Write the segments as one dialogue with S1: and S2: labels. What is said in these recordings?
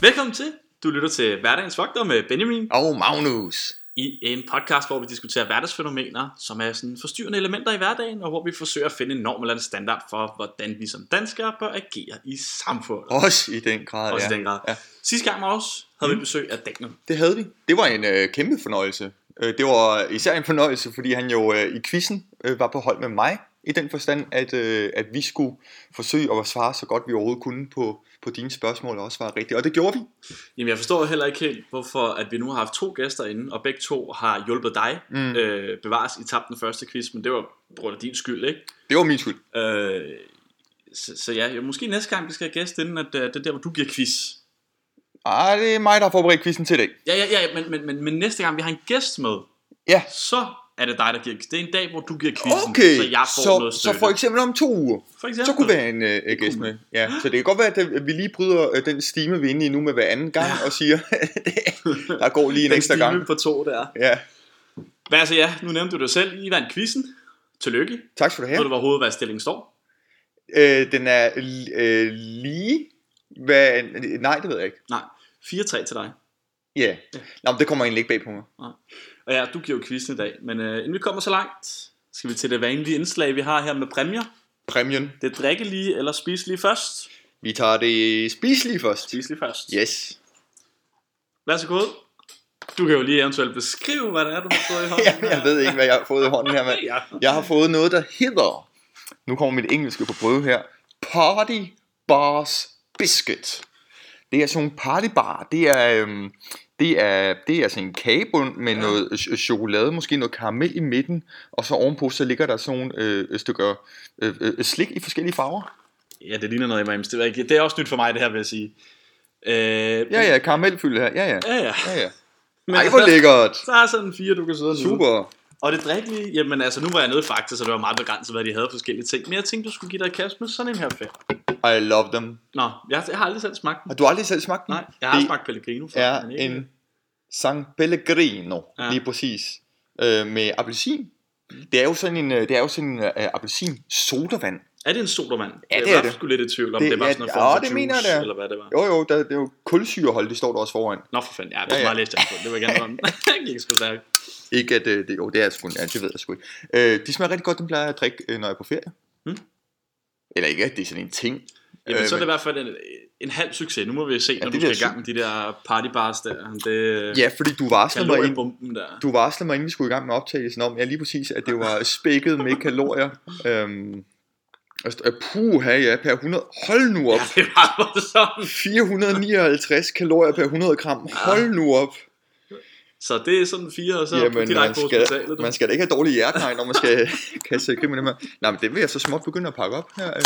S1: Velkommen til. Du lytter til Hverdagens Vogter med Benjamin
S2: Og Magnus.
S1: i en podcast, hvor vi diskuterer hverdagsfænomener, som er sådan forstyrrende elementer i hverdagen, og hvor vi forsøger at finde en norm eller en standard for, hvordan vi som danskere bør agere i samfundet.
S2: Også i den grad,
S1: Også
S2: ja.
S1: i den grad.
S2: Ja. Mm.
S1: Sidste gang med os havde vi besøg af Daniel.
S2: Det havde vi. Det var en øh, kæmpe fornøjelse. Øh, det var især en fornøjelse, fordi han jo øh, i quizzen øh, var på hold med mig. I den forstand, at, øh, at vi skulle forsøge at svare så godt vi overhovedet kunne på, på dine spørgsmål og også svare rigtigt. Og det gjorde vi.
S1: Jamen, jeg forstår heller ikke helt, hvorfor at vi nu har haft to gæster inde, og begge to har hjulpet dig
S2: Mm.
S1: øh, bevares i tabt den første quiz, men det var på grund af din skyld, ikke?
S2: Det var min skyld.
S1: Øh, så, så ja, måske næste gang, vi skal have gæst inden, at øh, det er der, hvor du giver quiz.
S2: Ej, det er mig, der har forberedt quizzen til i dag.
S1: Ja, ja, ja, men, men, men, men næste gang vi har en gæst med,
S2: Ja.
S1: så er det dig, der giver Det er en dag, hvor du giver quizzen,
S2: Okay,
S1: så jeg får noget
S2: så,
S1: støtte.
S2: så for eksempel om to uger,
S1: for eksempel.
S2: så kunne vi have en øh, gæst med. Ja, så det kan godt være, at vi lige bryder øh, den stime, vi er inde i nu med hver anden gang, og siger, der går lige en
S1: Den
S2: ekstra gang.
S1: stime på to der.
S2: Ja,
S1: Men altså ja, nu nævnte du det selv. I vandt quizzen. Tillykke. Ja.
S2: tak skal du have.
S1: Ved du, hvor hovedværdsstillingen står?
S2: Øh, den er øh, lige... Hvad, nej, det ved jeg ikke.
S1: Nej, 4-3 til dig.
S2: Ja.
S1: Ja.
S2: Yeah. Nå, men det kommer egentlig ikke bag på mig.
S1: Og ja, du giver jo quizzen i dag. Men øh, inden vi kommer så langt, skal vi til det vanlige indslag, vi har her med præmier.
S2: Præmien.
S1: Det er drikke lige eller spise lige først.
S2: Vi tager det spiselige først.
S1: Spise lige først.
S2: Yes.
S1: Vær så god. Du kan jo lige eventuelt beskrive, hvad det er, du har fået i hånden.
S2: Jamen, jeg ved ikke, hvad jeg har fået i hånden her, mand.
S1: Ja.
S2: Jeg har fået noget, der hedder... Nu kommer mit engelske på prøve her. Party Bars Biscuit. Det er sådan en partybar. Det er, øhm, det er, det er sådan en kagebund med
S1: Ja.
S2: ja. noget ch- chokolade, måske noget karamel i midten. Og så ovenpå, så ligger der sådan nogle øh, stykker øh, øh, slik i forskellige farver.
S1: ja, det ligner noget, Imams. Det, var ikke, det er også nyt for mig, det her, vil jeg sige. Øh,
S2: Ja, ja, karamelfyldt her. Ja, ja.
S1: Ja, ja.
S2: ja, ja.
S1: Men
S2: Ej, hvor lækkert.
S1: Der er sådan fire, du kan sidde og nyde.
S2: Super.
S1: Og det drikkelige, jamen altså, nu var jeg nede faktisk, så det var meget begrænset, hvad de havde af forskellige ting. Men jeg tænkte, du skulle give dig et kast med sådan en her fag.
S2: I love them.
S1: Nå, jeg, jeg har aldrig selv smagt den.
S2: Har du aldrig selv smagt den?
S1: Nej, jeg har
S2: Det
S1: smagt Pellegrino før.
S2: er
S1: men ikke-
S2: en San Pellegrino,
S1: Ja. Mm.
S2: ja. lige præcis, øh, med appelsin. Det er jo sådan en, øh, det er jo sådan en øh, appelsin sodavand.
S1: Er det en sodavand?
S2: Ja, det
S1: jeg
S2: er
S1: var
S2: det.
S1: sgu lidt i tvivl om, det,
S2: Det-
S1: det var
S2: ja,
S1: sådan en
S2: det-
S1: form
S2: åh,
S1: for
S2: det
S1: juice,
S2: mener jeg, det er.
S1: eller hvad det var.
S2: Jo jo, der, det er jo kulsyrehold, det står der også foran.
S1: Nå for fanden, ja, det
S2: Ja,
S1: er
S2: ja.
S1: meget læst jeg på. Det vil jeg gerne om. det gik sgu stærkt.
S2: Ikke at, øh, det, jo det er sgu, ja, det ved jeg sgu ikke. Øh, de smager rigtig godt, den plejer jeg at drikke, øh, når jeg er på ferie.
S1: Mm.
S2: Eller ikke, at det er sådan en ting.
S1: Jamen,
S2: Øh,
S1: så er det
S2: men-
S1: i hvert fald en, en halv succes. Nu må vi se, når
S2: det
S1: du
S2: bliver
S1: skal i gang med de der partybars der. Det,
S2: Ja, fordi du varslede mig, ind,
S1: kaloriebomben der.
S2: du varslede mig, inden vi skulle i gang med optagelsen om, ja lige præcis, at det var spækket med kalorier. Øhm, altså, puh, her ja, per 100. Hold nu op.
S1: Ja, det var voldsomt.
S2: 459 kalorier per 100 gram. Hold nu op.
S1: Så det er sådan fire, og Ah. så Jamen,
S2: Jamen, man
S1: direkte på
S2: skal,
S1: hospitalet. Du.
S2: man skal da ikke have dårlig hjertegn, når man skal kaste krig med dem her. Nej, men det vil jeg så småt begynde at pakke op her. øh.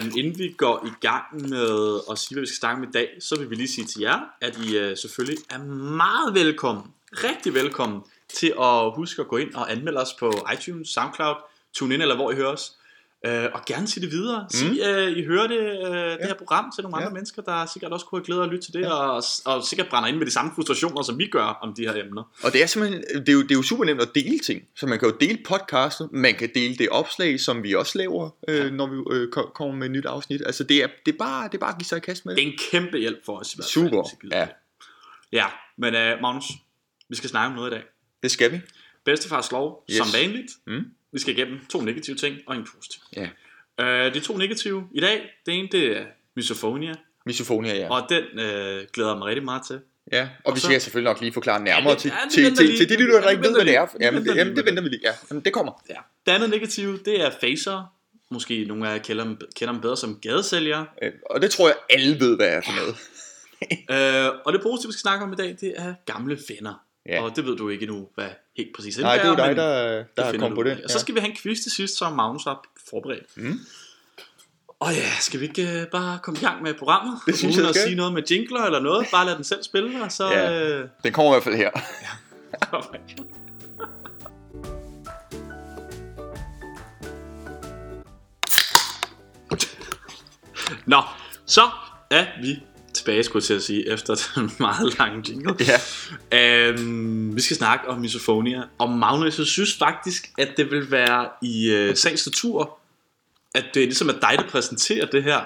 S1: Øhm, inden vi går i gang med at sige, hvad vi skal snakke om i dag, så vil vi lige sige til jer, at I øh, selvfølgelig er meget velkommen, rigtig velkommen, til at huske at gå ind og anmelde os på iTunes, Soundcloud, TuneIn eller hvor I hører os. Øh, og gerne sige det videre. Sig, øh, I hører det, øh, det her program til nogle andre
S2: Mm. Ja.
S1: mennesker, der sikkert også kunne have glæde af at lytte til det, og, og sikkert brænder ind med de samme frustrationer, som vi gør om de her emner.
S2: Og det er simpelthen, det er, jo, det er jo super nemt at dele ting. Så man kan jo dele podcastet, man kan dele det opslag, som vi også laver, øh, når vi øh, ko- kommer med et nyt afsnit. Altså, det er, det er, bare, det er bare at give sig i kast med
S1: Det
S2: det.
S1: er en kæmpe hjælp for os i hvert fald.
S2: Super,
S1: hvis I gider
S2: ja.
S1: det. Ja, men øh, Magnus, vi skal snakke om noget i dag.
S2: Det skal vi.
S1: Bedstefars lov, yes.
S2: Yes.
S1: som vanligt.
S2: Mm.
S1: Vi skal igennem to negative ting og en positiv.
S2: Ja.
S1: Øh, de to negative i dag, det ene det er misofonia,
S2: Misofonia, ja.
S1: og den øh, glæder jeg mig rigtig meget til.
S2: Ja, og vi
S1: så-
S2: skal selvfølgelig nok lige forklare nærmere
S1: Ja, det-
S2: til,
S1: ja, det
S2: til,
S1: venter
S2: til,
S1: lige.
S2: til de lyttere,
S1: Ja,
S2: der
S1: det
S2: ikke ved,
S1: venter
S2: hvad det
S1: lige.
S2: er.
S1: Det
S2: Jamen,
S1: venter
S2: det, jamen,
S1: lige.
S2: det venter vi lige. Ja, jamen, det kommer.
S1: Ja. Det andet negative, det er facer. Måske nogle af jer kender dem, kender dem bedre som gadesælgere.
S2: Øh, Og det tror jeg, alle ved, hvad er for noget.
S1: Øh, og det positive, vi skal snakke om i dag, det er gamle venner.
S2: Ja.
S1: Og det ved du ikke endnu, hvad helt præcis
S2: Nej, det er jo
S1: indebærer,
S2: dig,
S1: men
S2: der, der har
S1: finder
S2: kommet
S1: du
S2: på
S1: ud af.
S2: det.
S1: Og så skal vi have en quiz til sidst, så Magnus har forberedt.
S2: Mm.
S1: Og ja, skal vi ikke øh, bare komme i gang med programmet?
S2: Det synes
S1: uden
S2: jeg,
S1: at
S2: skal.
S1: sige noget med jingler eller noget. Bare lad den selv spille, og så...
S2: Ja.
S1: Øh,
S2: ja. Den kommer i hvert fald her.
S1: Nå, så er vi tilbage, skulle jeg til at sige, efter den meget lange jingle.
S2: ja.
S1: Øhm, vi skal snakke om misofonia. Og Magnus, jeg synes faktisk, at det vil være i øh, sagens natur, at det ligesom er dig, der præsenterer det her.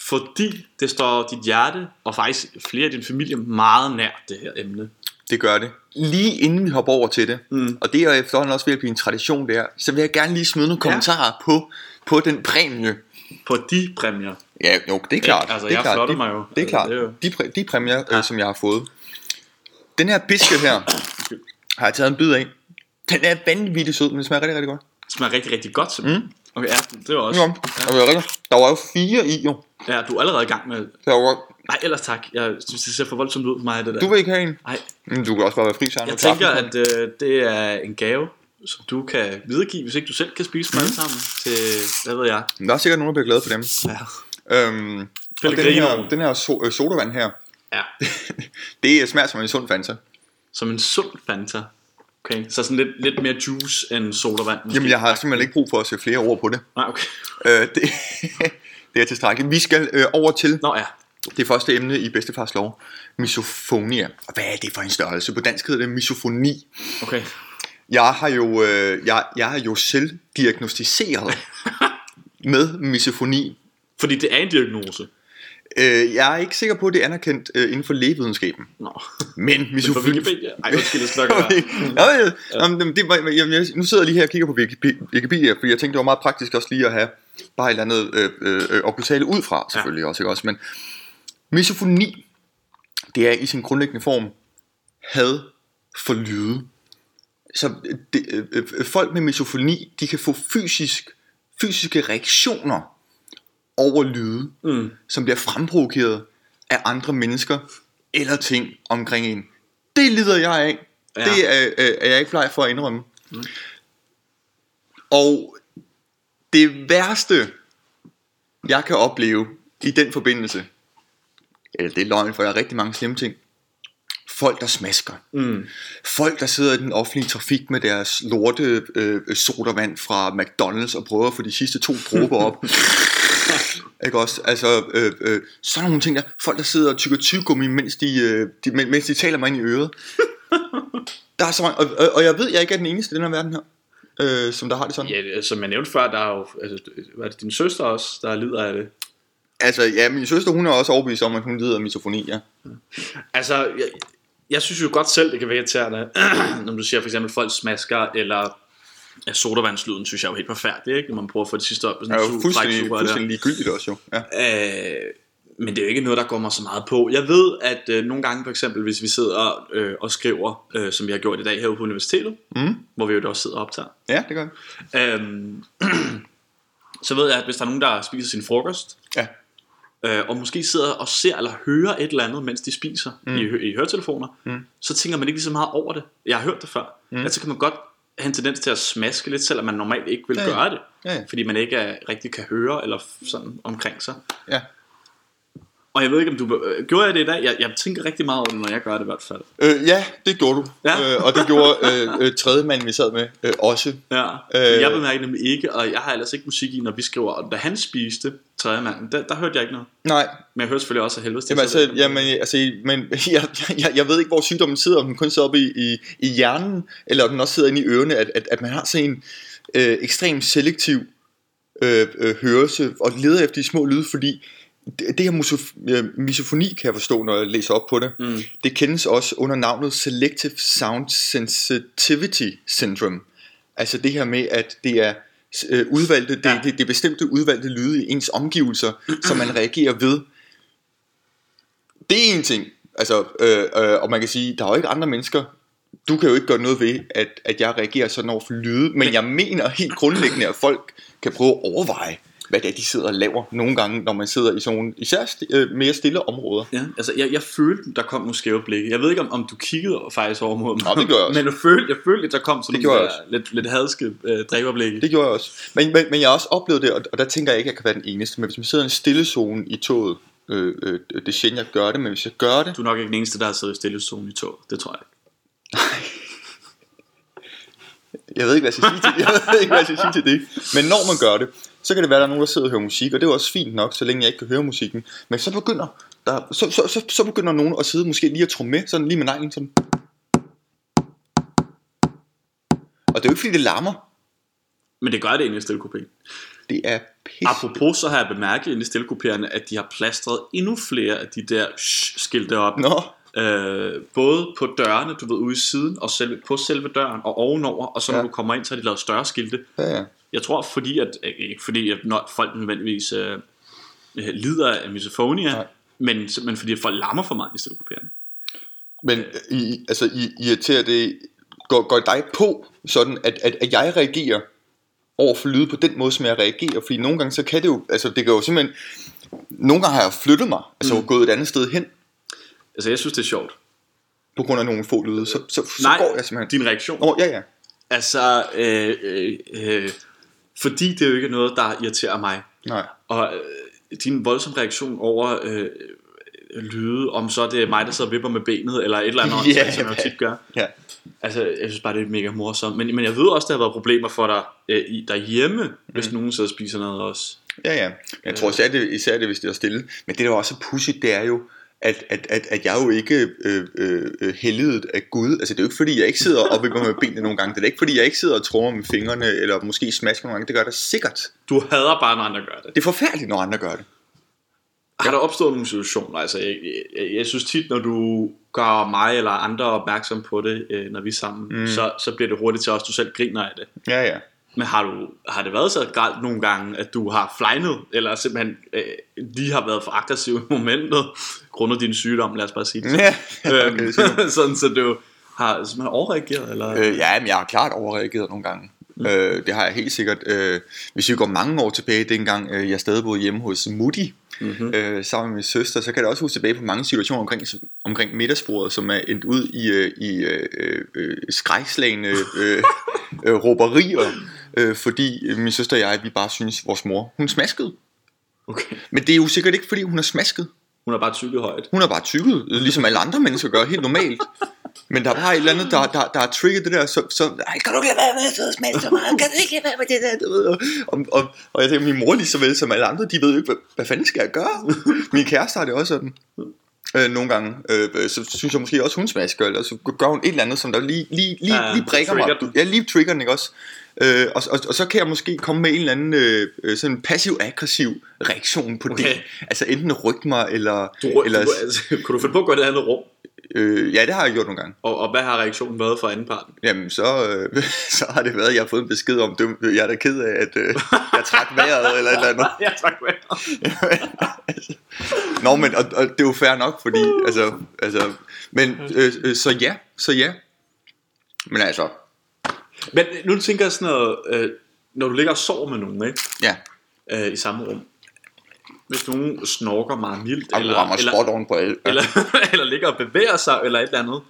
S1: fordi det står dit hjerte og faktisk flere af din familie meget nær det her emne.
S2: Det gør det. Lige inden vi hopper over til det,
S1: Mm.
S2: og det er efterhånden også ved at blive en tradition der, så vil jeg gerne lige smide nogle kommentarer på, på den præmie.
S1: På de præmier.
S2: Ja, jo, det er klart.
S1: Ikke? Altså,
S2: det er
S1: jeg
S2: klart.
S1: flotter
S2: det,
S1: mig jo.
S2: Det er
S1: Altså,
S2: klart.
S1: det er jo-
S2: De, præ- de præmier, ja. øh, som jeg har fået. Den her biske her, har jeg taget en bid af. Den er vanvittigt sød, men den smager rigtig, rigtig godt.
S1: Det smager rigtig, rigtig godt. simpelthen. Okay, ja, det var også...
S2: Mm. Jo, ja. rigtig. Der var jo fire i, jo.
S1: Ja, du er allerede i gang med...
S2: Der var,
S1: Nej, ellers tak. Jeg synes, det ser for voldsomt ud for mig, det der.
S2: du vil ikke have en.
S1: Nej,
S2: Men du kan også bare være fri, Søren.
S1: jeg
S2: og klare
S1: tænker, at
S2: den.
S1: øh, det er en gave, som du kan videregive, hvis ikke du selv kan spise dem alle sammen til... Hvad ved jeg?
S2: Men Der er sikkert nogen, der bliver glade for dem.
S1: Ja.
S2: Øhm, og den
S1: Pellegrino.
S2: her, den her so- øh, sodavand her,
S1: ja.
S2: det øh, smager som en sund fanta.
S1: Som en sund Fanta. Okay, så sådan lidt, lidt mere juice end sodavand. måske.
S2: Jamen, jeg har simpelthen ikke brug for at se flere ord på det.
S1: Nej, okay.
S2: Øh, det, det er tilstrækkeligt. Vi skal øh, over til
S1: Nå ja,
S2: det første emne i Bedstefars lov, misofonia. Og hvad er det for en størrelse? På dansk hedder det misofoni.
S1: okay.
S2: Jeg har jo, øh, jeg, jeg er jo selv diagnostiseret med misofoni.
S1: Fordi det er en diagnose.
S2: Øh, jeg er ikke sikker på, at det er anerkendt øh, inden for lægevidenskaben.
S1: Nå.
S2: Men
S1: For
S2: misofoni...
S1: Wikipedia? Ej, undskyld, det skal nok
S2: Okay.
S1: være.
S2: Nå, ja. Nå, men det var- jeg- jeg- Nu sidder jeg lige her og kigger på Wiki- Wikipedia, fordi jeg tænkte, det var meget praktisk også lige at have bare et eller andet øh, øh, øh, at kunne tale ud fra, selvfølgelig også, ikke også? Men misofoni, det er i sin grundlæggende form had for lyde. Så det, øh, øh, folk med misofoni, de kan få fysisk, fysiske reaktioner over lyde,
S1: Mm.
S2: som bliver fremprovokeret af andre mennesker eller ting omkring en. Det lider jeg af. Ja.
S1: Ja.
S2: Det er, øh, er jeg ikke fly for at indrømme. Mm. Og det værste, jeg kan opleve i den forbindelse, eller det er løgn, for jeg har rigtig mange slemme ting, folk der smasker.
S1: Mm.
S2: Folk, der sidder i den offentlige trafik med deres lorte øh, sodavand fra McDonald's og prøver at få de sidste to dråber op. Ikke også? Altså, øh, øh, sådan nogle ting der. Folk, der sidder og tykker tyggegummi, mens de, øh, de, men- mens de taler mig ind i øret. Der er så mange, og, og, og jeg ved, jeg ikke er den eneste i den her verden her, øh, som der har det sådan.
S1: Ja, det- som jeg nævnte før, der er jo... Altså, var det din søster også, der lider af det?
S2: Altså, ja, min søster, hun er også overbevist om, at hun lider af misofoni, ja.
S1: Altså, jeg, jeg synes jo godt selv, det kan være irriterende, når du siger for eksempel, folk smasker, eller ja, sodavandslyden synes jeg er jo helt forfærdelig, ikke? Når man prøver at få det sidste op. på
S2: Det
S1: Sådan
S2: er
S1: en
S2: jo
S1: su-
S2: fuldstændig,
S1: bræksugerør der.
S2: fuldstændig ligegyldigt også, jo. Ja.
S1: Øh, men det er jo ikke noget, der går mig så meget på. Jeg ved, at øh, nogle gange for eksempel, hvis vi sidder øh, og skriver, øh, som vi har gjort i dag herude på universitetet,
S2: Mm.
S1: hvor vi jo da også sidder og optager,
S2: ja, det gør jeg.
S1: Øhm, så ved jeg, at hvis der er nogen, der spiser sin frokost,
S2: Ja.
S1: øh, og måske sidder og ser eller hører et eller andet, mens de spiser mm. i, hø- i høretelefoner, mm. så tænker man ikke lige så meget over det. Jeg har hørt det før. Mm. Altså kan man godt have en tendens til at smaske lidt, selvom man normalt ikke vil
S2: Ja,
S1: ja,
S2: ja.
S1: gøre det.
S2: Ja, ja.
S1: Fordi man ikke er, rigtig kan høre eller f- sådan omkring sig.
S2: ja.
S1: Og jeg ved ikke, om du... Øh, gjorde jeg det i dag? Jeg, jeg tænker rigtig meget over det, når jeg gør det i hvert fald.
S2: Øh, ja, det gjorde du. Ja.
S1: Ja.
S2: Øh, og det gjorde øh, øh, tredje mand, vi sad med, øh, også.
S1: Ja,
S2: Øh.
S1: øh... jeg bemærker nemlig ikke, og jeg har ellers ikke musik i, når vi skriver. Og da han spiste tredje manden, der, der hørte jeg ikke noget.
S2: Nej,
S1: Men jeg hører selvfølgelig også af helvede til.
S2: jamen,
S1: så jeg
S2: altså,
S1: ved ikke, om-
S2: jamen, altså, men, jeg, jeg, jeg ved ikke, hvor sygdommen sidder, om den kun sidder oppe i, i, i hjernen, eller om den også sidder inde i ørerne, at, at, at man har sådan en øh, ekstrem selektiv øh, øh, hørelse, og leder efter de små lyde, fordi det, det her musof- øh, misofoni, kan jeg forstå, når jeg læser op på det,
S1: Mm.
S2: det kendes også under navnet Selective Sound Sensitivity Syndrome. Altså det her med, at det er øh, udvalgte, det, ja.
S1: Ja.
S2: det, det er bestemte udvalgte lyde i ens omgivelser, som man reagerer ved. Det er en ting. Altså, øh, øh, og man kan sige, der er jo ikke andre mennesker. Du kan jo ikke gøre noget ved, at, at jeg reagerer sådan over for lyde, men jeg mener helt grundlæggende, at folk kan prøve at overveje, hvad det er, de sidder og laver nogle gange, når man sidder i sådan nogle især sti- øh, mere stille områder.
S1: Ja, altså jeg, jeg følte, der kom nogle skæve blikke. Jeg ved ikke, om, om du kiggede over- faktisk over mod mig.
S2: Nå, det gjorde jeg også.
S1: Men jeg følte, jeg følte, at der kom sådan
S2: Det gjorde
S1: nogle
S2: jeg
S1: der lidt, lidt hadske øh, dræberblikke.
S2: Det gjorde jeg også. Men, men, men jeg har også oplevet det, og, og der tænker jeg ikke, at jeg kan være den eneste. Men hvis man sidder i en stille zone i toget, øh, øh, det er sjældent, jeg gør det, men hvis jeg gør det,
S1: Du er nok ikke den eneste, der har siddet i stillezonen i tog. Det tror jeg ikke.
S2: jeg ved ikke, hvad jeg skal sige til det, jeg ved ikke, hvad jeg skal sige til det. Men når man gør det, så kan det være, at der er nogen, der sidder og hører musik, og det er jo også fint nok, så længe jeg ikke kan høre musikken. Men så begynder, der, så, så, så, så begynder nogen at sidde måske lige at tro med, sådan lige med neglen, sådan. Og det er jo ikke, fordi det larmer.
S1: Men det gør det inde i stillekopé.
S2: Det er pisse.
S1: Apropos, så har jeg bemærket inde i stillekupéerne, at de har plastret endnu flere af de der skilte op.
S2: Nå,
S1: Øh, både på dørene, du ved, ude i siden, og selv, på selve døren, og ovenover, og så når
S2: Ja.
S1: du kommer ind, så har de lavet større skilte.
S2: ja, ja.
S1: Jeg tror, fordi at, øh, ikke fordi at når folk nødvendigvis øh, øh, lider af misofonia,
S2: Nej.
S1: men simpelthen fordi at folk larmer for meget i stillekupéerne.
S2: Men I, altså, I irriterer det, går, går dig på, sådan at, at, at jeg reagerer over for lyde på den måde, som jeg reagerer, fordi nogle gange så kan det jo, altså det kan jo simpelthen, nogle gange har jeg flyttet mig, altså mm. gået et andet sted hen,
S1: Altså, jeg synes, det er sjovt.
S2: på grund af nogle få lyde, så, så, så
S1: Nej,
S2: går jeg simpelthen.
S1: din reaktion.
S2: Åh, oh, ja, ja.
S1: Altså, øh, øh, øh, fordi det er jo ikke noget, der irriterer mig.
S2: Nej.
S1: Og øh, din voldsomme reaktion over øh, øh, lyde, om så det er mig, der sidder og vipper med benet, eller et eller andet,
S2: Ja,
S1: yeah, som jeg
S2: hvad?
S1: tit gør.
S2: Ja.
S1: Altså, jeg synes bare, det er mega morsomt. Men, men jeg ved også, der har været problemer for dig øh, i, derhjemme, mm. hvis nogen sidder og spiser noget også.
S2: Ja, ja. Men Jeg tror især det, især det, hvis det er stille. Men det, der også er pudsigt, det er jo, at, at, at, at jeg jo ikke øh, øh, øh, helliget af Gud. Altså, det er jo ikke, fordi jeg ikke sidder og vipper med benene nogle gange. Det er da ikke, fordi jeg ikke sidder og trummer med fingrene, eller måske smasker nogle gange. Det gør der sikkert.
S1: Du hader bare, når andre gør det.
S2: Det er forfærdeligt, når andre gør det. Ah.
S1: Har der opstået nogle situationer? Altså, jeg, jeg, jeg synes tit, når du gør mig eller andre opmærksom på det, øh, når vi er sammen, mm. så, så bliver det hurtigt til os, du selv griner af det.
S2: Ja, ja.
S1: Men har, du, har det været så galt nogle gange, at du har flejnet, eller simpelthen øh, lige har været for aggressiv i momentet, grundet din sygdom, lad os bare sige det. sådan.
S2: Ja,
S1: øhm,
S2: okay, så-
S1: sådan, så du har simpelthen overreageret, eller? Øh.
S2: Øh, ja, men jeg har klart overreageret nogle gange. Mm. Øh, det har jeg helt sikkert. Øh, hvis vi går mange år tilbage, dengang øh, jeg stadig boede hjemme hos Mutti, mm-hmm. øh, sammen med min søster, så kan jeg da også huske tilbage på mange situationer omkring, omkring middagsbordet, som er endt ud i, øh, i øh, øh, skrækslagende øh, øh, råberier, øh, fordi øh, min søster og jeg, vi bare synes, vores mor, hun smaskede.
S1: Okay.
S2: Men det er jo sikkert ikke, fordi hun har smasket.
S1: Hun har bare tykket højt.
S2: Hun er bare tykket, øh, ligesom alle andre mennesker gør, helt normalt. Men der er bare et eller andet, der, der, der har trigget det der, så, så Ej, kan du ikke lade være med at sidde og smage så meget? Kan du ikke lade være med det der? Du ved, og- og, og, og jeg tænker, min mor lige så vel som alle andre, de ved jo ikke, hvad, hvad fanden skal jeg gøre? Min kæreste har det også sådan. Øh, nogle gange, øh, øh, så synes jeg måske også, hun smasker, eller så gør hun et eller andet, som der lige, lige, lige,
S1: Ja,
S2: lige prikker mig.
S1: trigger den.
S2: Ja, lige trigger den, ikke også? Øh, og, og, og så kan jeg måske komme med en eller anden øh, øh, sådan passiv-aggressiv reaktion på okay.
S1: Okay.
S2: det. Altså enten rykke mig, eller...
S1: Du, rø-
S2: eller
S1: du, altså, kunne du finde på at gå i det andet rum?
S2: Øh, ja, det har jeg gjort nogle gange.
S1: Og, og hvad har reaktionen været fra anden parten?
S2: Jamen, så, øh, så har det været, at jeg har fået en besked om, det, jeg er da ked af, at øh, jeg trak vejret eller et eller andet.
S1: Ja, tak. mand.
S2: Nå, men og, og det er jo fair nok, fordi, altså, altså men øh, øh, så ja, så ja. Men altså,
S1: Men nu tænker jeg sådan noget, øh, når du ligger og sover med nogen, ikke?
S2: ja,
S1: Øh, i samme rum. Hvis nogen snorker meget mildt,
S2: og du rammer spot on på alle.
S1: eller, eller ligger og bevæger sig, eller et eller andet.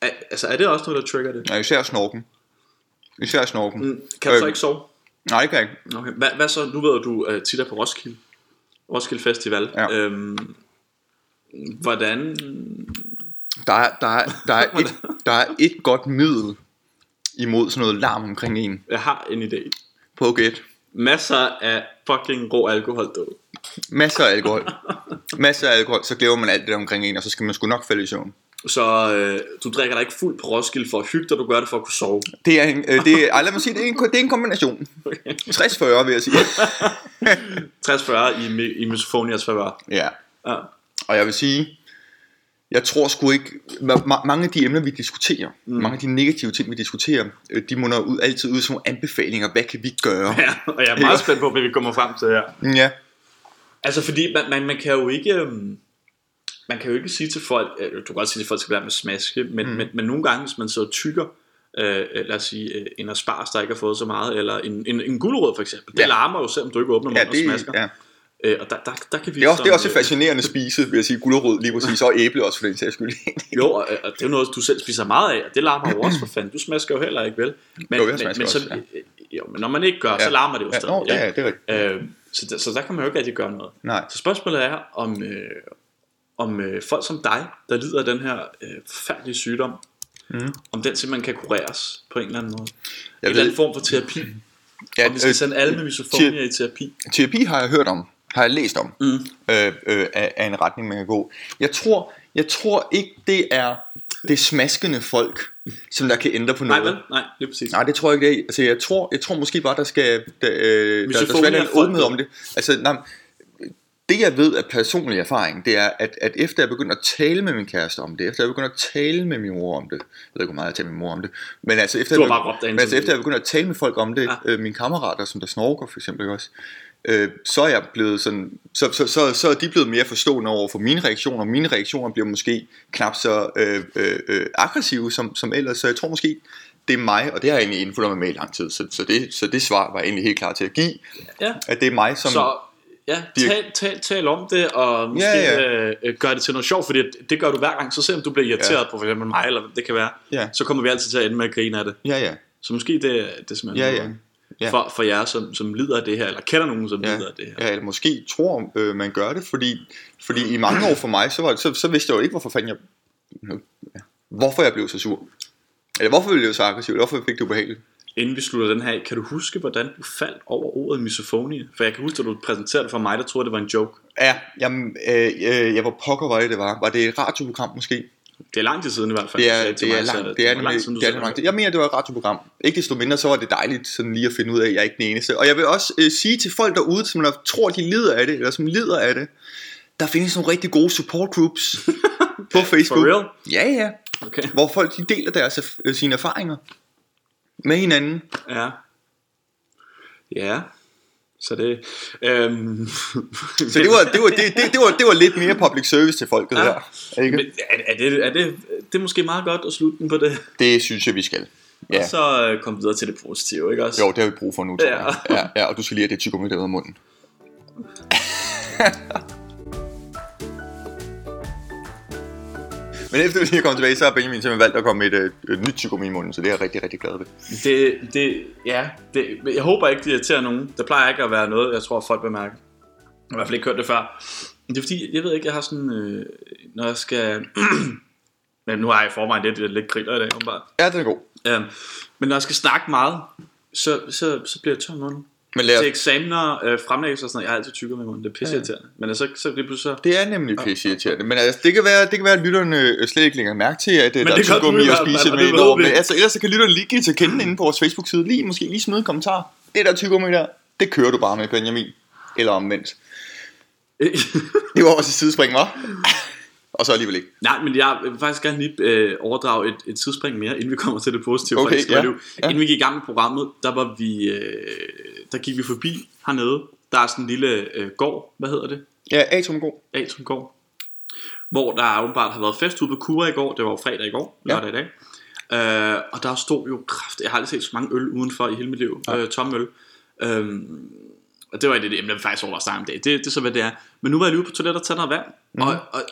S1: Er, altså, er det også noget, der trigger det?
S2: Ja, især snorken. Især snorken.
S1: Mm, Kan du så
S2: Øh,
S1: ikke sove?
S2: Nej, det kan jeg ikke.
S1: Okay. Hvad, hvad så? Nu ved jeg, du uh, tit er på Roskilde. Roskilde Festival.
S2: Ja.
S1: Øhm, hvordan...
S2: Der er, der, er, der, er et, der er et godt middel imod sådan noget larm omkring en.
S1: Jeg har en idé.
S2: På gæt.
S1: Masser af fucking rå alkohol, du.
S2: Masser af alkohol. Masser af alkohol, så glemmer man alt det der omkring en, og så skal man sgu nok falde i søvn.
S1: Så øh, du drikker dig ikke fuld på Roskilde for at hygge dig, du gør det for at kunne sove.
S2: Det er en, øh, det er, ej, lad mig sige, det er en, det er en kombination. 60-40, vil jeg sige.
S1: 60-40 i, mi- i misofonias favør.
S2: Ja,
S1: Ja.
S2: og jeg vil sige, jeg tror sgu ikke, ma- ma- mange af de emner, vi diskuterer, mm. mange af de negative ting, vi diskuterer, øh, de munder ud, altid ud som nogle anbefalinger. Hvad kan vi gøre?
S1: ja, og jeg er meget spændt på, hvad vi kommer frem til her.
S2: Ja,
S1: Altså fordi man, man, man kan jo ikke øhm, Man kan jo ikke sige til folk øh, Du kan godt sige til folk skal være med smaske Men, mm. men, men nogle gange hvis man sidder og tykker øh, øh, Lad os sige øh, en aspars der ikke har fået så meget Eller en, en, en gulerod for eksempel Det
S2: Ja.
S1: larmer jo selvom du ikke åbner
S2: ja,
S1: munden og
S2: det,
S1: smasker
S2: ja.
S1: øh, Og der, der, der kan vi
S2: Det, er også, det er også et
S1: som, øh,
S2: fascinerende spise, vil jeg sige, gulerod lige præcis, og æble også for den sags skyld.
S1: Jo, og, og det er jo noget, du selv spiser meget af, og det larmer jo også for fanden. Du smasker jo heller ikke, vel? Men,
S2: Jo, jeg
S1: men,
S2: smasker
S1: men,
S2: også,
S1: så, øh, jo, men når man ikke gør, ja. så
S2: Ja.
S1: larmer det jo
S2: ja,
S1: stadig.
S2: nå, ja, ja, det er rigtigt.
S1: Øh, så, der, så der kan man jo ikke rigtig gøre noget.
S2: Nej.
S1: Så spørgsmålet er, om, øh, om øh, folk som dig, der lider af den her øh, forfærdelige sygdom,
S2: Mm.
S1: om den simpelthen kan kureres på en eller anden måde. en
S2: Jeg
S1: eller
S2: ved,
S1: anden form for terapi.
S2: ja,
S1: Om vi skal
S2: øh,
S1: sende alle med misofonia i terapi.
S2: Terapi har jeg hørt om, har jeg læst om,
S1: Mm.
S2: øh, øh, af, af en retning, man kan gå. Jeg tror, jeg tror ikke, det er det er smaskende folk, som der kan ændre på
S1: Nej,
S2: noget.
S1: vel? Nej, det er præcis.
S2: Nej, det tror jeg ikke, det er. Altså, jeg tror, jeg tror måske bare, der skal der, øh, der, der
S1: får
S2: skal være
S1: mere
S2: en
S1: folk
S2: åbenhed
S1: med.
S2: om det. Altså, nej, det jeg ved af personlig erfaring, det er, at, at efter jeg begyndte at tale med min kæreste om det, efter jeg begyndte at tale med min mor om det, jeg ved ikke, hvor meget jeg taler med min mor om det, men altså efter,
S1: Du
S2: jeg,
S1: har bare råbt derhen,
S2: men altså,
S1: som
S2: efter jeg begyndte at tale med folk om det,
S1: Ja.
S2: øh, mine kammerater, som der snorker for eksempel ikke også, øh, så er jeg blevet sådan, så, så, så, så er de blevet mere forstående over for mine reaktioner, og mine reaktioner bliver måske knap så øh, øh, øh, aggressive som, som ellers, så jeg tror måske, det er mig, og det har jeg egentlig indfuldt mig med i lang tid, så, så, det, så det svar var jeg egentlig helt klar til at give,
S1: Ja.
S2: at det er mig, som...
S1: Så ja,
S2: De-
S1: tal, tal, tal om det, og måske
S2: Ja,
S1: ja, ja. Øh, øh, gør det til noget sjovt, fordi det, det gør du hver gang. Så selvom du bliver irriteret ja. på for eksempel mig, eller hvad det kan være,
S2: Ja.
S1: så kommer vi altid til at ende med at grine af det.
S2: Ja, ja.
S1: Så måske det, det er simpelthen
S2: Ja, ja. Ja.
S1: For, for jer, som, som lider af det her, eller kender nogen, som lider af det her.
S2: Ja, eller måske tror øh, man gør det, fordi, fordi i mange år for mig, så, var, det- så, så vidste jeg jo ikke, hvorfor fanden jeg, hvorfor jeg blev så sur. Eller hvorfor jeg blev så aggressiv, eller hvorfor jeg fik det ubehageligt.
S1: Inden vi slutter den her af, kan du huske, hvordan du faldt over ordet misofonie? For jeg kan huske, at du præsenterede det for mig, der troede, det var en joke.
S2: Ja, jamen, øh, øh, jeg var pokker, var det, det var. Var det et radioprogram måske?
S1: Det er lang tid siden i hvert fald.
S2: Det
S1: du
S2: er,
S1: sagde til
S2: det er
S1: mig, så
S2: langt, det er,
S1: var
S2: nemlig-
S1: siden, du
S2: det er
S1: sagde
S2: langt. Jeg mener, det var et radioprogram. Ikke desto mindre, så var det dejligt sådan lige at finde ud af, at jeg er ikke den eneste. Og jeg vil også øh, sige til folk derude, som der tror, de lider af det, eller som lider af det, der findes nogle rigtig gode support groups på Facebook.
S1: real?
S2: Ja, ja.
S1: Okay.
S2: Hvor folk de deler deres, erf- øh, sine erfaringer med hinanden.
S1: Ja. Ja. Så det... Øhm,
S2: Så det var, det var, det, det, det var, det var lidt mere public service til folket
S1: Ja.
S2: ja. her. Ikke?
S1: Men er, er, det, er det, det er måske meget godt at slutte den på det,
S2: Det synes jeg, vi skal.
S1: ja.
S2: Ja.
S1: og så øh, komme videre til det positive, ikke også?
S2: Jo, det har vi brug for nu, tror
S1: Ja.
S2: jeg. Ja, ja, og du skal lige have det tykker med ud af munden. Men efter vi lige kom tilbage, så har Benjamin simpelthen valgt at komme med et, øh, et nyt tyggegummi i munden, så det er jeg rigtig, rigtig glad ved.
S1: Det, det, ja, det, men jeg håber ikke, det irriterer nogen. Der plejer ikke at være noget, jeg tror, folk bemærker. Jeg har i hvert fald ikke hørt det før. Men Det er fordi, jeg ved ikke, jeg har sådan... Øh, når jeg skal... men nu har jeg i forvejen lidt, lidt griller i dag, åbenbart.
S2: Ja, den er god.
S1: Øhm, men når jeg skal snakke meget, så, så, så bliver jeg tør i munden.
S2: Men lad
S1: Til eksamener, øh, fremlæggelser og sådan noget, jeg har altid tykker med munden. Det er pisseirriterende. Men så, så lige pludselig så...
S2: Det er nemlig pisse irriterende, men altså, det, kan være, det kan være, at lytterne øh, slet ikke lægger mærke til, at men der er
S1: det gør du i
S2: tyggegummi at
S1: hvert fald,
S2: spise
S1: og
S2: med
S1: det
S2: ind
S1: ved
S2: over.
S1: vi.
S2: Men altså, ellers så kan lytterne lige give til kende inde på vores Facebook-side, lige, måske lige smide en kommentar. Det der tyggegummi der, det kører du bare med, Benjamin. Eller omvendt. Det var også et sidespring, var. Og så alligevel ikke.
S1: Nej, men jeg vil faktisk gerne lige øh, overdrage et, et tidsspring mere, inden vi kommer til det positive.
S2: Okay,
S1: faktisk,
S2: ja,
S1: liv.
S2: ja.
S1: Inden vi gik i gang med programmet, der, var vi, øh, der gik vi forbi hernede. Der er sådan en lille øh, gård, hvad hedder det?
S2: Ja, Atom er god.
S1: Atomgård, hvor der åbenbart har været fest ude på Kura i går. Det var jo fredag i går,
S2: Ja.
S1: lørdag i dag. Øh, og der stod jo kraft. Jeg har aldrig set så mange øl udenfor i hele mit liv. Ja. Øh, tomme øl. Øhm, og det var et af de emner, vi faktisk overvejede at snakke om i dag. Det, det er så, hvad det er. Men nu var jeg lige ude på toilettet og tage noget vand.
S2: Mhm.
S1: Mm. Og, og,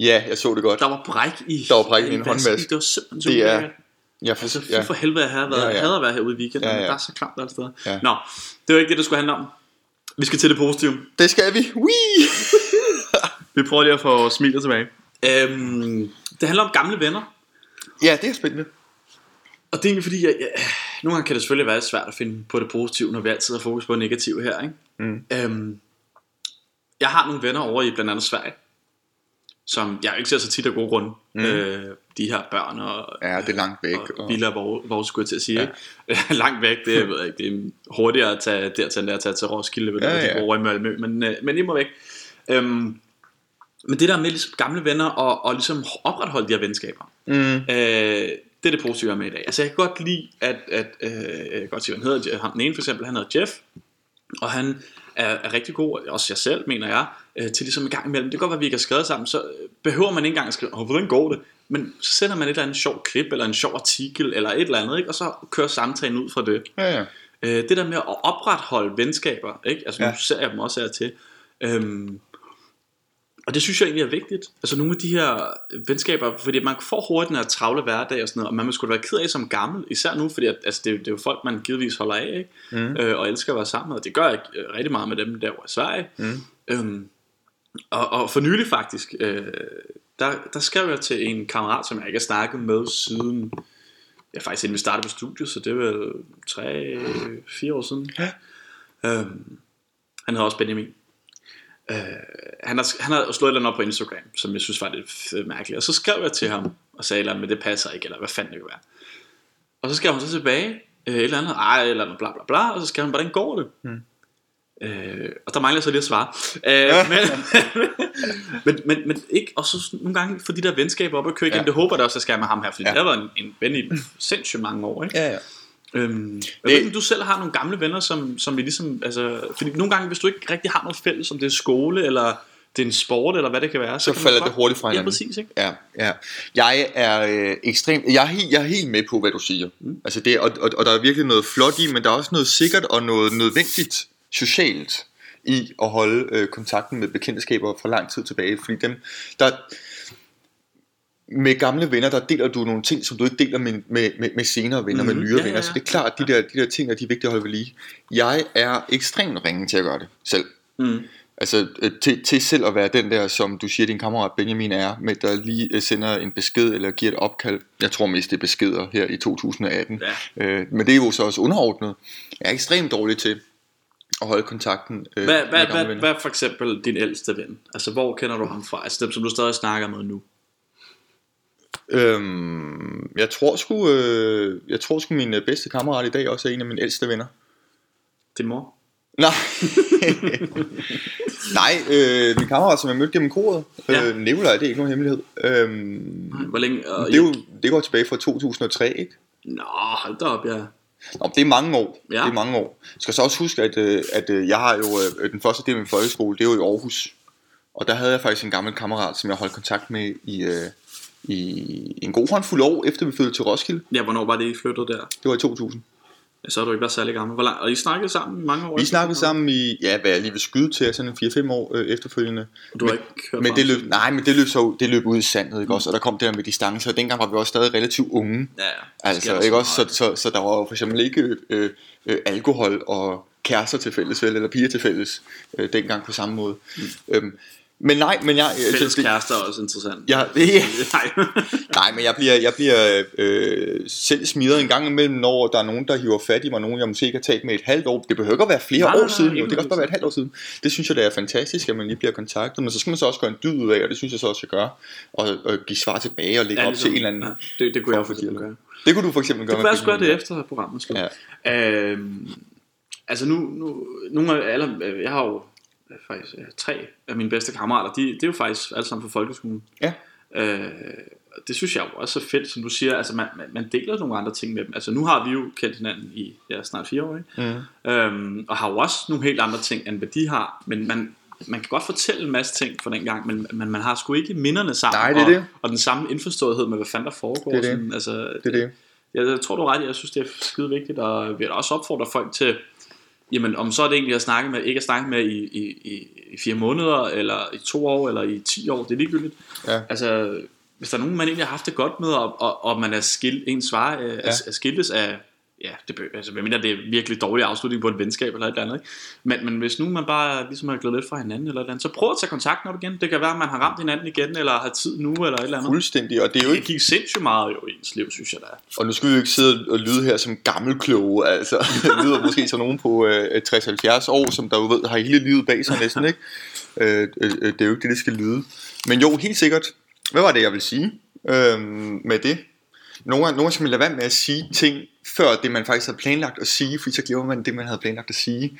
S2: Ja, jeg så det godt.
S1: der var bræk i
S2: Der var bræk i en
S1: vask-
S2: håndvask.
S1: Det var simpelthen så
S2: Det er-
S1: ulækkert.
S2: Jeg for,
S1: Altså, fy
S2: ja.
S1: for helvede, jeg havde været,
S2: Ja,
S1: ja,
S2: ja.
S1: ja. Havde været her ude i weekenden,
S2: Ja,
S1: ja,
S2: ja.
S1: ja. men der er så klamt alle steder.
S2: Ja.
S1: Ja. Nå, det var ikke det, det skulle handle om. Vi skal til det positive.
S2: Det skal vi. Whee!
S1: Vi prøver lige at få smilet tilbage. Øhm, det handler om gamle venner.
S2: Ja, det er spændende.
S1: Og det er egentlig fordi, jeg, jeg, nogle gange kan det selvfølgelig være lidt svært at finde på det positive, når vi altid har fokus på det negative her. Ikke?
S2: Mm.
S1: Øhm, jeg har nogle venner over i blandt andet Sverige, som jeg ikke ser så tit af gode grunde. Mm. Øh, de her børn og, øh,
S2: Ja, det er langt væk.
S1: og, og
S2: og-
S1: biler, hvor, hvor skulle jeg til at sige. Ja. Langt væk, det, jeg ved jeg ikke, det er hurtigere at tage dertil, end det er at tage til Roskilde,
S2: Ja,
S1: ja, ja.
S2: ja.
S1: de bor over i Malmø, men, øh, men imod væk. Øhm, men det der med ligesom gamle venner og, og ligesom opretholde de her venskaber,
S2: Mm.
S1: Øh, det er det positive, jeg er med i dag. Altså, jeg kan godt lide, at, at øh, jeg kan godt sige, hvad han hedder. Ham, den ene for eksempel, han hedder Jeff, og han er, er rigtig god, og også jeg selv, mener jeg, øh, til ligesom en gang imellem. Det kan godt være, at vi ikke har skrevet sammen, så øh, behøver man ikke engang at skrive, "Åh, hvordan går det? Men så sender man et eller andet sjov klip, eller en sjov artikel, eller et eller andet, ikke? og så kører samtalen ud fra det.
S2: Ja, ja.
S1: Øh, det der med at opretholde venskaber, ikke? Altså, nu
S2: Ja.
S1: ser jeg dem også her til. Øhm, og det synes jeg egentlig er vigtigt. Altså nogle af de her venskaber, fordi man får hurtigt den her travle hverdag og sådan noget, og man må sgu da være ked af som gammel, især nu, fordi at, altså, det, er jo- det, er jo folk, man givetvis holder af, ikke?
S2: Mm.
S1: Øh, og elsker at være sammen med, og det gør jeg øh, rigtig meget med dem derovre i Sverige.
S2: Mm.
S1: Øhm, og, og for nylig faktisk, øh, der, der skrev jeg til en kammerat, som jeg ikke har snakket med siden, ja faktisk inden vi startede på studiet, så det er vel 3-4 år siden.
S2: Ja.
S1: Øhm, han hedder også Benjamin. Øh, han, har, han har slået et eller andet op på Instagram, som jeg synes var lidt f- mærkeligt. Og øh, så skrev jeg til ham, og sagde et eller andet, men det passer ikke, eller hvad fanden det kan være. Og så skrev hun så tilbage, øh, et eller andet, ej, et eller andet, bla bla bla, og så skrev hun, hvordan går det?
S2: Mm.
S1: Øh, og der mangler jeg så lige at svare. Øh, men, men, men, men, ikke, og så nogle gange for de der venskaber op og køre igen,
S2: Ja.
S1: ja. det håber jeg da også, jeg skal med ham her, fordi
S2: Ja.
S1: ja. det har været en, en ven i sindssygt mange år, ikke?
S2: Ja, ja.
S1: Øhm, jeg ved ikke, om du selv har nogle gamle venner, som, som vi ligesom, altså, fordi nogle gange, hvis du ikke rigtig har noget fælles, om det er skole, eller det er en sport, eller hvad det kan være,
S2: Så
S1: kan man
S2: falder
S1: godt-
S2: det hurtigt fra
S1: Ja,
S2: hinanden.
S1: præcis, ikke?
S2: Ja, ja. Jeg er øh, ekstrem, jeg er, helt, jeg er helt med på, hvad du siger. Mm. Altså det, og, og, og der er virkelig noget flot i, men der er også noget sikkert og noget nødvendigt socialt i at holde øh, kontakten med bekendtskaber fra lang tid tilbage, fordi dem, der, med gamle venner, der deler du nogle ting, som du ikke deler med, med, med, med senere venner, mm-hmm.
S1: Mhm.
S2: med nyere ja,
S1: Ja, ja,
S2: venner,
S1: ja.
S2: så det er klart, de der, de der ting, er de er vigtige at holde ved lige. Jeg er ekstremt ringe til at gøre det selv.
S1: Mm.
S2: Altså øh, til, til selv at være den der, som du siger, din kammerat Benjamin er, med der lige øh, sender en besked eller giver et opkald. Jeg tror mest, det er beskeder her i 2018. Ja. Øh, men det er jo så også underordnet. Jeg er ekstremt dårlig til at holde kontakten øh,
S1: Hvad, hvad,
S2: med gamle
S1: hvad,
S2: venner.
S1: hvad er for eksempel din ældste ven? Altså, hvor kender du ham fra? Altså, dem, som du stadig snakker med nu.
S2: Øhm, jeg tror sgu, øh, jeg tror sgu min øh, bedste kammerat i dag også er en af mine ældste venner.
S1: Din mor?
S2: Nej. Nej, øh, min kammerat, som jeg mødte gennem koret, øh,
S1: Ja.
S2: Nikolaj, det er ikke nogen hemmelighed. Øhm,
S1: Hvor længe? Og,
S2: det, er jo, det går tilbage fra 2003, ikke?
S1: Nå, hold da op, ja.
S2: Nå, men det er mange år. Ja.
S1: Ja.
S2: Det er mange år. Jeg skal så også huske, at, øh, at øh, jeg har jo øh, den første del af min folkeskole, det er jo i Aarhus. Og der havde jeg faktisk en gammel kammerat, som jeg holdt kontakt med i, øh, i en god håndfuld år, efter vi flyttede til Roskilde.
S1: Ja, hvornår var det, I flyttede der?
S2: Det var i 2000.
S1: Ja, Så har du ikke været særlig gammel. Hvor lang... Og I snakkede sammen i mange år?
S2: Vi
S1: ikke?
S2: snakkede sammen i, ja, hvad jeg lige vil skyde til, sådan en 4-5 år øh, efterfølgende.
S1: Og Du har ikke hørt
S2: Men
S1: fra
S2: det
S1: ham
S2: løb,
S1: siden?
S2: nej, men det løb, så, det løb ud i sandet,
S1: Mm.
S2: ikke også? Og der kom det der med distancer, og dengang var vi også stadig relativt unge.
S1: Ja, ja. Det sker
S2: Altså,
S1: der
S2: ikke
S1: så
S2: også? Så,
S1: meget.
S2: så, så der var jo for eksempel ikke øh, øh, alkohol og kærester til fælles, vel, eller piger til fælles, øh, dengang på samme måde. Mm. Øhm, men nej, men jeg... øh,
S1: Fælles
S2: det,
S1: kærester er også interessant.
S2: jeg, det,
S1: Nej.
S2: nej, men jeg bliver, jeg bliver øh, selv smidt en gang imellem, når der er nogen, der hiver fat i mig, nogen jeg måske ikke har talt med et halvt år. Det behøver ikke at være flere
S1: Nej,
S2: år
S1: nej, nej,
S2: siden, jo.
S1: ikke
S2: det kan også bare være et halvt år siden. Det synes jeg, det er fantastisk, at man lige bliver kontaktet, men så skal man så også gøre en dyd ud af, og det synes jeg så også, jeg gør, og, og give svar tilbage og lægge ja, op til en eller anden.
S1: Ja, det, det kunne jeg
S2: form for
S1: for eksempel gøre.
S2: dialog. Det kunne du for eksempel
S1: Det
S2: gøre.
S1: kunne
S2: med
S1: jeg også gøre
S2: Benjamin.
S1: det efter programmet slut.
S2: Ja.
S1: Øhm, altså nu, nu nogle af alle, øh, jeg har jo øh, faktisk øh, tre af mine bedste kammerater, de, det er jo faktisk alle sammen fra folkeskolen.
S2: Ja.
S1: Øh, og det synes jeg jo også er fedt, som du siger, altså man, man, man deler nogle andre ting med dem. Altså nu har vi jo kendt hinanden i ja, snart fire år, ikke?
S2: Mhm.
S1: Øhm, og har jo også nogle helt andre ting, end hvad de har, men man, man kan godt fortælle en masse ting fra den gang, men, men man har sgu ikke minderne sammen,
S2: Nej, det er
S1: og,
S2: det.
S1: og den samme indforståethed med, hvad fanden der foregår.
S2: Det er det.
S1: Sådan, altså,
S2: Det er det.
S1: jeg, jeg tror du har ret, i, jeg synes det er skide vigtigt, og vi da også opfordre folk til, jamen om så er det egentlig at snakke med, ikke at snakke med i, i, i, i fire måneder, eller i to år, eller i ti år, det er ligegyldigt.
S2: Ja.
S1: Altså, hvis der er nogen, man egentlig har haft det godt med, og, og, og man er skilt, ens svar øh, ja. er, er skiltes af, ja, det bør, altså, jeg mener, det er virkelig dårlig afslutning på et venskab eller et eller andet, ikke? Men, men hvis nu man bare ligesom har glædet lidt fra hinanden eller et eller andet, så prøv at tage kontakt op igen. Det kan være, at man har ramt hinanden igen, eller har tid nu, eller et eller andet.
S2: Fuldstændig, og det er jo
S1: Det
S2: ikke,
S1: gik sindssygt meget jo i ens liv, synes jeg, der er.
S2: og nu skal vi jo ikke sidde og lyde her som gammelkloge, altså, det lyder måske som nogen på øh, 60-70 år, som der jo ved, har hele livet bag sig næsten, ikke? Øh, øh, øh, det er jo ikke det, det skal lyde. Men jo, helt sikkert, hvad var det, jeg ville sige øh, med det? Nogle gange, nogle gange skal man lade være med at sige ting, før det, man faktisk havde planlagt at sige, fordi så glemmer man det, man havde planlagt at sige.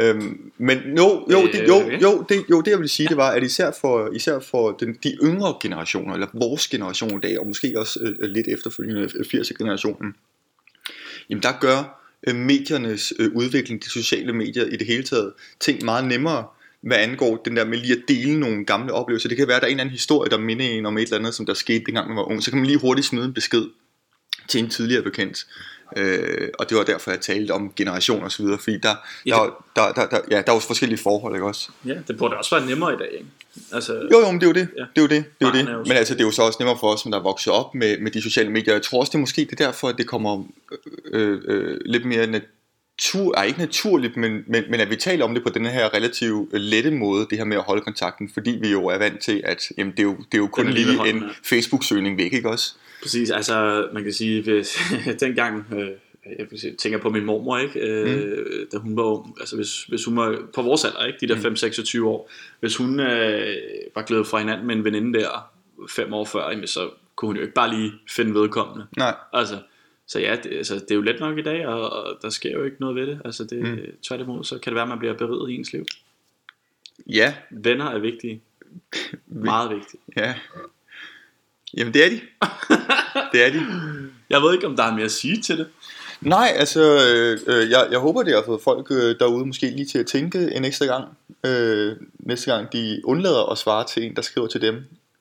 S2: Øhm, men jo, jo, det, jo,
S1: Øh, ja.
S2: jo, det, jo, det jeg vil sige, det var, at især for, især for den, de yngre generationer, eller vores generation i dag, og måske også øh, lidt efterfølgende øh, 80'er-generationen, jamen der gør øh, mediernes øh, udvikling, de sociale medier i det hele taget, ting meget nemmere, hvad angår den der med lige at dele nogle gamle oplevelser. Det kan være, at der er en eller anden historie, der minder en om et eller andet, som der skete dengang man var ung. Så kan man lige hurtigt smide en besked til en tidligere bekendt. Øh, og det var derfor, jeg talte om generation og så videre, fordi der,
S1: Ja.
S2: der, der, der, der, ja, der er jo forskellige forhold, ikke også?
S1: Ja, det burde også være nemmere i dag, ikke? Altså,
S2: Jo, jo, men det er jo det.
S1: Ja.
S2: Det er jo det. det, er jo
S1: Barnet er jo
S2: det. Men
S1: sådan.
S2: altså, det er jo så også nemmere for os, som der er vokset op med, med de sociale medier. Jeg tror også, det er måske det er derfor, at det kommer øh, øh, lidt mere natur... Ej, ikke naturligt, men, men, men at vi taler om det på den her relativt øh, lette måde, det her med at holde kontakten, fordi vi jo er vant til, at jamen, det, er jo, det er jo kun
S1: Den lille
S2: lige
S1: hånd,
S2: en
S1: ja.
S2: Facebook-søgning væk, ikke også?
S1: præcis, altså man kan sige, hvis dengang, øh, jeg vil sige, tænker på min mormor, ikke? Øh, da hun var ung, altså hvis, hvis hun var på vores alder, ikke? de der 5-26 år, hvis hun øh, var glædet fra hinanden med en veninde der fem år før, jamen, så kunne hun jo ikke bare lige finde vedkommende.
S2: Nej.
S1: Altså, så ja, det, altså, det er jo let nok i dag, og, og der sker jo ikke noget ved det. Altså, det, mm.
S2: Mm.
S1: tværtimod, så kan det være, at man bliver beriget i ens liv.
S2: Ja,
S1: Venner er vigtige. Meget vigtige.
S2: ja. Jamen det er de. Det er de.
S1: Jeg ved ikke, om der er mere at sige til det.
S2: Nej, altså, øh, øh, jeg, jeg håber, det har fået folk øh, derude måske lige til at tænke en ekstra gang. Øh, næste gang de undlader at svare til en, der skriver til dem.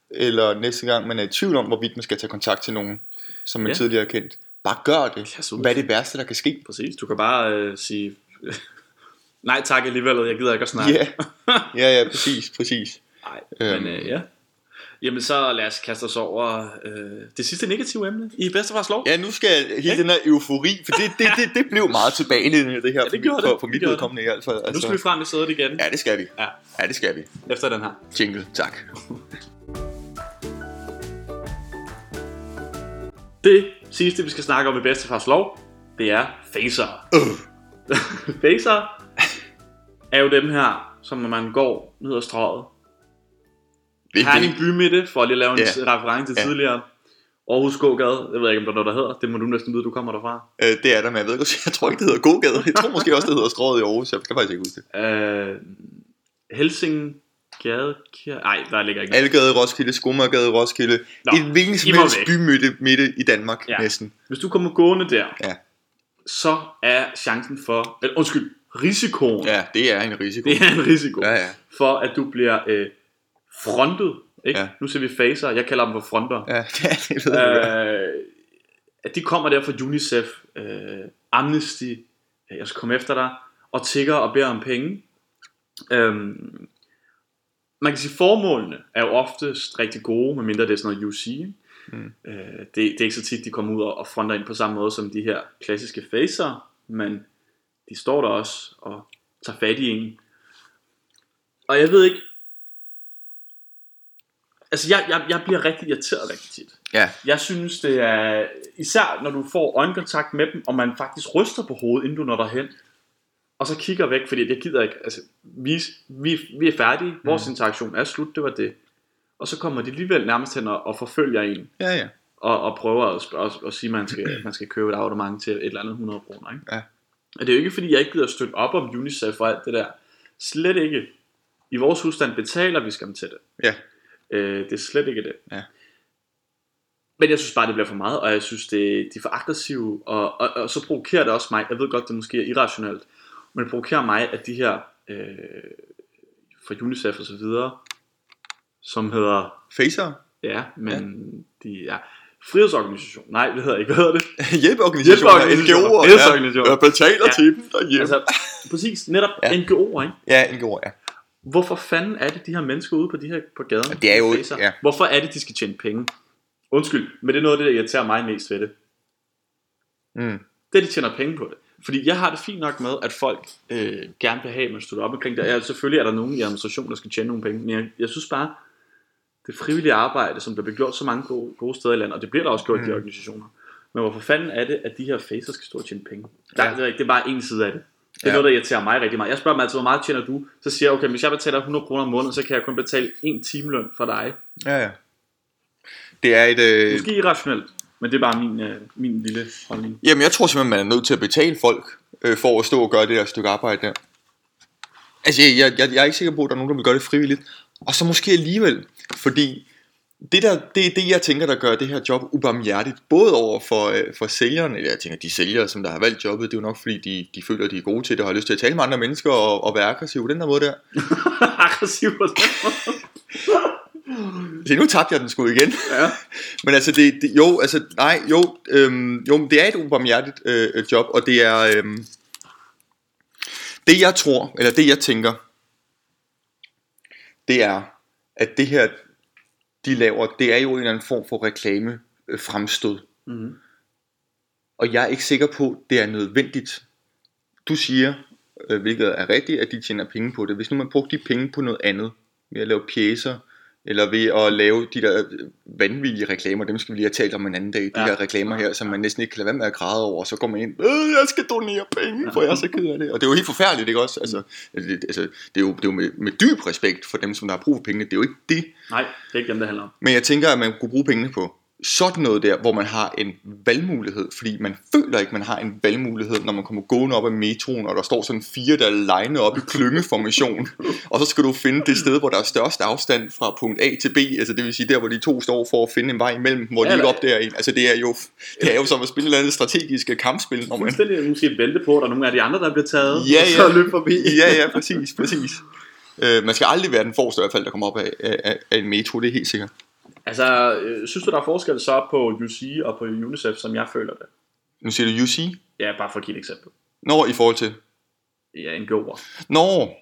S2: Eller næste gang man er i tvivl om, hvorvidt man skal tage kontakt til nogen, som man
S1: Ja.
S2: ja. tidligere har kendt. Bare gør det.
S1: Ja, super.
S2: Hvad er det værste, der kan ske?
S1: Præcis, du kan bare øh, sige, nej tak alligevel, jeg gider ikke at snakke.
S2: Ja. ja, ja, præcis, præcis.
S1: Nej,
S2: Øhm.
S1: men øh, ja. Jamen så lad os kaste os over øh, det sidste negative emne i Bedstefars Lov.
S2: Ja, nu skal hele den her eufori, for det, det, det, det blev meget tilbagelændende, det her,
S1: Ja, det
S2: for mit-
S1: gjorde det.
S2: for, for
S1: Det
S2: mit
S1: gjorde
S2: vedkommende i hvert fald.
S1: nu skal vi frem i sædet igen,
S2: Ja, det skal vi.
S1: Ja.
S2: altså- ja, det skal vi.
S1: efter den her.
S2: Jingle, tak.
S1: Det sidste, vi skal snakke om i Bedstefars Lov, det er facer.
S2: Øh.
S1: facer er jo dem her, som når man går ned ad strøget. Herning Bymitte, for lige at lave en
S2: Ja.
S1: reference til
S2: Ja.
S1: tidligere. Aarhus Gågade, jeg ved ikke, om der er noget, der hedder. Det må du næsten vide, du kommer derfra.
S2: Øh, det er der, men jeg ved ikke, jeg tror ikke, det hedder Gågade. Jeg tror måske også, det hedder Strået i Aarhus. Jeg kan faktisk ikke huske det.
S1: Øh, Helsinggade Kirke... Nej, der ligger ikke noget.
S2: Algade i Roskilde, Skomagergade i Roskilde.
S1: Nå,
S2: Nå, et hvilken som
S1: I må
S2: helst
S1: væk.
S2: bymidte midt i Danmark
S1: Ja.
S2: ja. næsten.
S1: Hvis du kommer gående der,
S2: Ja.
S1: så er chancen for... Eller, undskyld, risikoen.
S2: Ja, det er en risiko.
S1: Det er en risiko.
S2: Ja, ja.
S1: For at du bliver øh, frontet. Ikke?
S2: Ja.
S1: Nu ser vi facer. Jeg kalder dem for fronter.
S2: Ja, det er det. ved jeg godt.
S1: Øh, at de kommer der fra UNICEF, øh, Amnesty, øh, jeg skal komme efter dig, og tigger og beder om penge. Øhm, man kan sige, formålene er jo oftest rigtig gode, medmindre det er sådan noget UC. ikke?
S2: Mm.
S1: Øh, det, det er ikke så tit, de kommer ud og, og fronter ind på samme måde som de her klassiske facer, men de står der også og tager fat i en. Og jeg ved ikke, altså jeg, jeg, jeg bliver rigtig irriteret rigtig tit.
S2: Ja,
S1: Jeg synes, det er især, når du får øjenkontakt med dem, og man faktisk ryster på hovedet, inden du når derhen, og så kigger væk, fordi jeg gider ikke, altså, vi, vi, vi er færdige, vores mm. interaktion er slut, det var det. Og så kommer de alligevel nærmest hen og, og forfølger en,
S2: ja, ja.
S1: og, og prøver at, sp- og, og sige, at man skal, man skal købe et abonnement til et eller andet 100 kroner. Ikke?
S2: Ja.
S1: Og det er jo ikke, fordi jeg ikke gider at støtte op om UNICEF og alt det der. Slet ikke. I vores husstand betaler vi skam til det.
S2: Ja.
S1: Øh, det er slet ikke det.
S2: Ja.
S1: Men jeg synes bare, det bliver for meget, og jeg synes, det, de er for aggressive, og, og, og så provokerer det også mig. Jeg ved godt, det måske er irrationelt, men det provokerer mig, at de her øh, fra UNICEF og så videre, som hedder
S2: Facer.
S1: Ja, men ja. de er frihedsorganisation. Nej, det hedder ikke. Hvad hedder det?
S2: Hjælpeorganisationer,
S1: Hjælpeorganisationer,
S2: NGO'er.
S1: fredsorganisationer.
S2: Ja, betaler
S1: Ja.
S2: ja. til dem derhjemme. Altså,
S1: Altså, præcis, netop ja.
S2: Ja.
S1: NGO'er, ikke?
S2: ja, NGO'er, ja.
S1: Hvorfor fanden er det, de her mennesker ude på de her på gaden?
S2: Det er jo-
S1: facer?
S2: ja.
S1: Hvorfor er det, de skal tjene penge? Undskyld, men det er noget af det, der irriterer mig mest ved det.
S2: Mm.
S1: Det er, de tjener penge på det. Fordi jeg har det fint nok med, at folk øh, gerne vil have, at man støtter op omkring det. Ja, selvfølgelig er der nogen i administrationen, der skal tjene nogle penge, men jeg, jeg synes bare, det frivillige arbejde, som der bliver gjort så mange gode, gode steder i landet, og det bliver der også gjort mm. i de
S2: Mm.
S1: organisationer. Men hvorfor fanden er det, at de her facer skal stå og tjene penge? Der,
S2: Ja.
S1: det, er, ikke- det er bare en side af det. Det er ja.
S2: Ja.
S1: noget, der irriterer mig rigtig meget. Jeg spørger mig altid, hvor meget tjener du? Så siger jeg, okay, hvis jeg betaler 100 kroner om måneden, så kan jeg kun betale en timeløn for dig.
S2: Ja, ja. Det er et... Øh...
S1: Måske irrationelt, men det er bare min, øh, min lille holdning.
S2: Jamen, jeg tror simpelthen, man er nødt til at betale folk øh, for at stå og gøre det der stykke arbejde der. Altså, jeg, jeg, jeg, jeg er ikke sikker på, at der er nogen, der vil gøre det frivilligt. Og så måske alligevel, fordi det, der, det er det, jeg tænker, der gør det her job ubarmhjertigt, både over for, øh, for sælgerne, eller jeg tænker, de sælgere, som der har valgt jobbet, det er jo nok, fordi de, de føler, de er gode til det, og har lyst til at tale med andre mennesker og, og være aggressive på den der måde der.
S1: Aggressiv på den måde.
S2: Se, nu tabte jeg den sgu igen.
S1: Ja.
S2: Men altså, det, det, jo, altså, nej, jo, øhm, jo, men det er et ubarmhjertigt øh, øh, job, og det er, øhm, det jeg tror, eller det jeg tænker, det er, at det her, de laver, det er jo en eller anden form for reklame øh, fremstød.
S1: Mm-hmm.
S2: Og jeg er ikke sikker på, at det er nødvendigt. Du siger, øh, hvilket er rigtigt, at de tjener penge på det. Hvis nu man brugte de penge på noget andet, ved at lave pjæser, eller ved at lave de der øh, vanvittige reklamer, dem skal vi lige have talt om en anden dag, de
S1: Ja.
S2: ja. her reklamer her, som man næsten ikke kan lade være med at græde over, og så går man ind, øh, jeg skal donere penge, for jeg er så ked af det. Og det er jo helt forfærdeligt, ikke også? Altså, det, altså, det er jo, det er jo med, med dyb respekt for dem, som der har brug for pengene, det er jo ikke det.
S1: Nej, det er ikke dem, det handler om.
S2: Men jeg tænker, at man kunne bruge pengene på sådan noget der, hvor man har en valgmulighed, fordi man føler ikke, man har en valgmulighed, når man kommer gående op ad metroen, og der står sådan fire, der legner op i klyngeformation, og så skal du finde det sted, hvor der er størst afstand fra punkt A til B, altså det vil sige der, hvor de to står for at finde en vej imellem, hvor de
S3: Eller-
S2: ikke opdager en, altså det er jo, det er jo som at spille et eller andet strategiske kampspil, når man...
S1: Fuldstændig måske vente på, at der er nogle af de andre, der bliver taget,
S2: Ja,
S1: og
S2: ja.
S1: så løbe forbi.
S2: Ja, ja, præcis, præcis. Øh, man skal aldrig være den forreste i hvert fald, der kommer op af, af, af- af en metro, det er helt sikkert.
S1: Altså, øh, synes du, der er forskel så på UC og på UNICEF, som jeg føler det?
S2: Nu siger du UC.
S1: Ja, bare for at give et eksempel.
S2: Når i forhold til...
S1: Ja, en god ord.
S2: Når...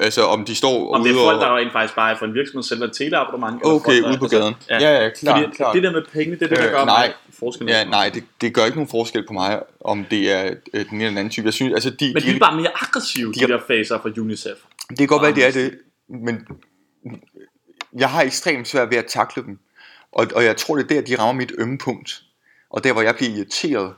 S2: Altså om de står
S1: Om det
S2: ude
S1: er folk,
S2: og...
S1: der rent faktisk bare er for en virksomhed, sælger et teleabonnement. eller
S2: Okay,
S1: folk, der-
S2: ude på
S1: altså,
S2: gaden.
S1: ja.
S2: ja, ja klart,
S1: Fordi
S2: klart.
S1: det der med penge, det er det, der
S2: Øh,
S1: gør
S2: nej.
S1: mig forskellen.
S2: Ja, nej, det, det gør ikke nogen forskel på mig, om det er øh, den ene eller den anden type. Jeg synes, altså, de,
S1: Men de er
S2: de,
S1: bare mere aggressive, de,
S2: de-
S1: der faser fra UNICEF.
S2: det kan godt være, det er det, men jeg har ekstremt svært ved at takle dem. Og, og jeg tror, det er der, de rammer mit ømme punkt. Og der, hvor jeg bliver irriteret,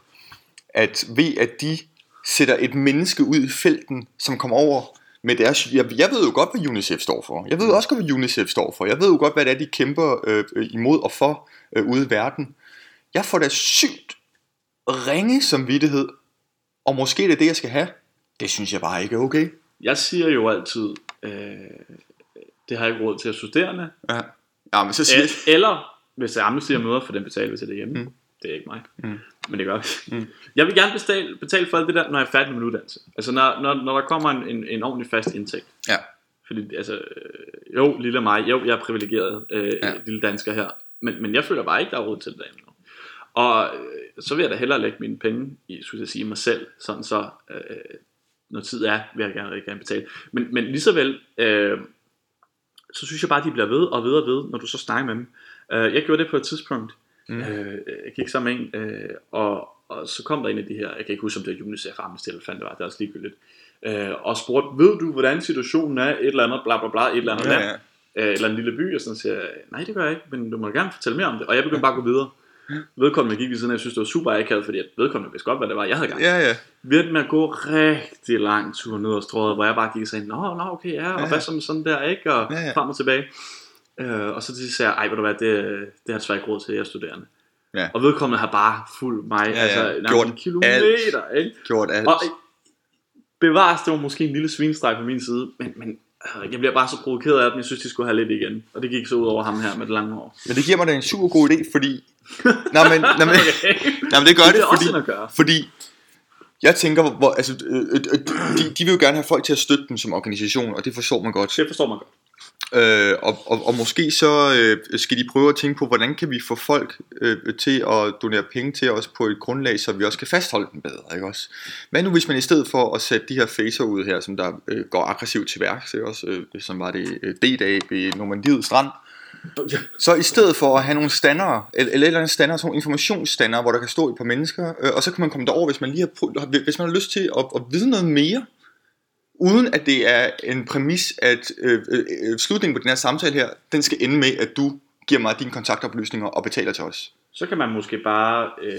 S2: at ved at de sætter et menneske ud i felten, som kommer over med deres... Jeg, jeg ved jo godt, hvad UNICEF står for. Jeg ved også godt, hvad UNICEF står for. Jeg ved jo godt, hvad det er, de kæmper øh, øh, imod og for øh, ude i verden. Jeg får da sygt ringe samvittighed, og måske det er det, jeg skal have. Det synes jeg bare ikke er okay.
S1: Jeg siger jo altid, øh, det har jeg ikke råd til at studerende.
S2: Ja. Ja, men så siger jeg...
S1: Øh, eller, hvis jeg Amnesty har møder, for den betaler vi til derhjemme. Mm. Det er ikke mig.
S2: Mm.
S1: Men det gør vi.
S2: Mm.
S1: Jeg vil gerne betale, betale for alt det der, når jeg er færdig med min uddannelse. Altså, når, når, når der kommer en, en, en ordentlig fast indtægt.
S2: Ja.
S1: Fordi, altså, øh, jo, lille mig, jo, jeg er privilegeret øh,
S2: Ja.
S1: ja. lille dansker her, men, men jeg føler bare ikke, der er råd til det derhjemme nu. Og øh, så vil jeg da hellere lægge mine penge i, skulle jeg sige, mig selv, sådan så, øh, når tid er, vil jeg gerne, rigtig gerne betale. Men, men lige så vel, øh, så synes jeg bare, de bliver ved og ved og ved, når du så snakker med dem. Øh, jeg gjorde det på et tidspunkt,
S2: Mm.
S1: mm. øh, jeg gik sammen med en, øh, og, og så kom der en af de her, jeg kan ikke huske, om det var UNICEF, Amnesty eller hvad fanden det var, det er også ligegyldigt, øh, og spurgte, ved du, hvordan situationen er, et eller andet, bla bla bla, et eller andet ja, land,
S2: ja.
S1: øh, eller en lille by, og sådan siger jeg, nej, det gør jeg ikke, men du må gerne fortælle mere om det, og jeg begyndte bare at gå videre. Vedkommende gik lige siden, af, jeg synes, det var super akavet, fordi at vedkommende vidste godt, hvad det var, jeg havde gang. i.
S2: Ja, ja.
S1: Vi endte med at gå rigtig lang tur ned ad strået, hvor jeg bare gik og sagde, nå, nå, okay, ja, og
S2: Ja.
S1: hvad som sådan der, ikke, og
S2: Ja, ja.
S1: frem og tilbage. Øh, og så til sidst sagde jeg, ej, ved du hvad, det, det har jeg desværre ikke råd til, jeg er studerende.
S2: Ja.
S1: Og vedkommende har bare fulgt mig, ja,
S2: ja.
S1: ja. altså nærmest
S2: Gjort
S1: en kilometer, ikke?
S2: Gjort alt.
S1: Og bevares, det var måske en lille svinestreg på min side, men, men øh, jeg bliver bare så provokeret af dem, jeg synes, de skulle have lidt igen. Og det gik så ud over ham her med det lange hår.
S2: Men det giver mig da en super god idé, fordi... nej, men, nej, men, nej, men det gør det,
S1: det er
S2: fordi...
S1: også en at gøre.
S2: Fordi jeg tænker, hvor- hvor, altså, øh, øh, øh, de, de vil jo gerne have folk til at støtte dem som organisation, og det forstår man godt.
S1: Det forstår man godt.
S2: Øh, og, og, og måske så øh, skal de prøve at tænke på, hvordan kan vi få folk øh, til at donere penge til os på et grundlag, så vi også kan fastholde dem bedre, ikke også? Hvad nu hvis man i stedet for at sætte de her facer ud her, som der øh, går aggressivt til værks, ikke også? Øh, som var det øh, D-dag ved Normandiet Strand, så i stedet for at have nogle standere, eller, eller et eller andet standere, sådan nogle informationsstandere, hvor der kan stå et par mennesker, øh, og så kan man komme derover, hvis man lige har, prø- hvis man har lyst til at, at vide noget mere, uden at det er en præmis, at øh, øh, øh, slutningen på den her samtale her, den skal ende med, at du giver mig dine kontaktoplysninger og betaler til os.
S1: Så kan man måske bare... Øh,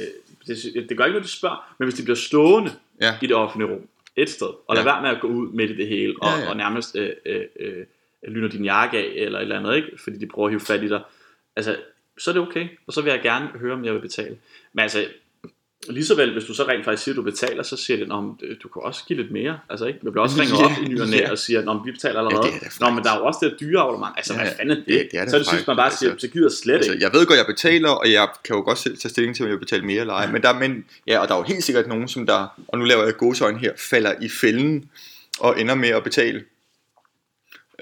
S1: det, det gør ikke noget, de spørger, men hvis de bliver stående
S2: Ja.
S1: i det offentlige rum et sted, og lad
S2: Ja.
S1: være med at gå ud midt i det hele, og,
S2: Ja,
S1: ja,
S2: ja.
S1: ja. og nærmest øh, øh, øh, lyner din jakke af, eller et eller andet, ikke? fordi de prøver at hive fat i dig. Altså, så er det okay, og så vil jeg gerne høre, om jeg vil betale. Men altså, lige så vel, hvis du så rent faktisk siger, at du betaler, så siger den, om øh, du kan også give lidt mere. Altså, ikke? Man bliver også ringet
S2: Ja,
S1: op i ny og næ,
S2: ja.
S1: og siger, at vi betaler
S2: Ja, det er
S1: allerede.
S2: da frækt.
S1: Nå, men der er jo også det her dyre abonnement. Altså,
S2: Ja,
S1: hvad
S2: ja.
S1: fanden er det?
S2: Ja, det er da
S1: så er det sidst,
S2: frækt.
S1: man bare siger,
S2: Altså,
S1: så gider jeg slet
S2: Altså,
S1: ikke.
S2: jeg ved godt, jeg betaler, og jeg kan jo godt selv tage stilling til, om jeg betaler mere eller ej. Men, der, men ja, og der er jo helt sikkert nogen, som der, og nu laver jeg gåsøjne her, falder i fælden og ender med at betale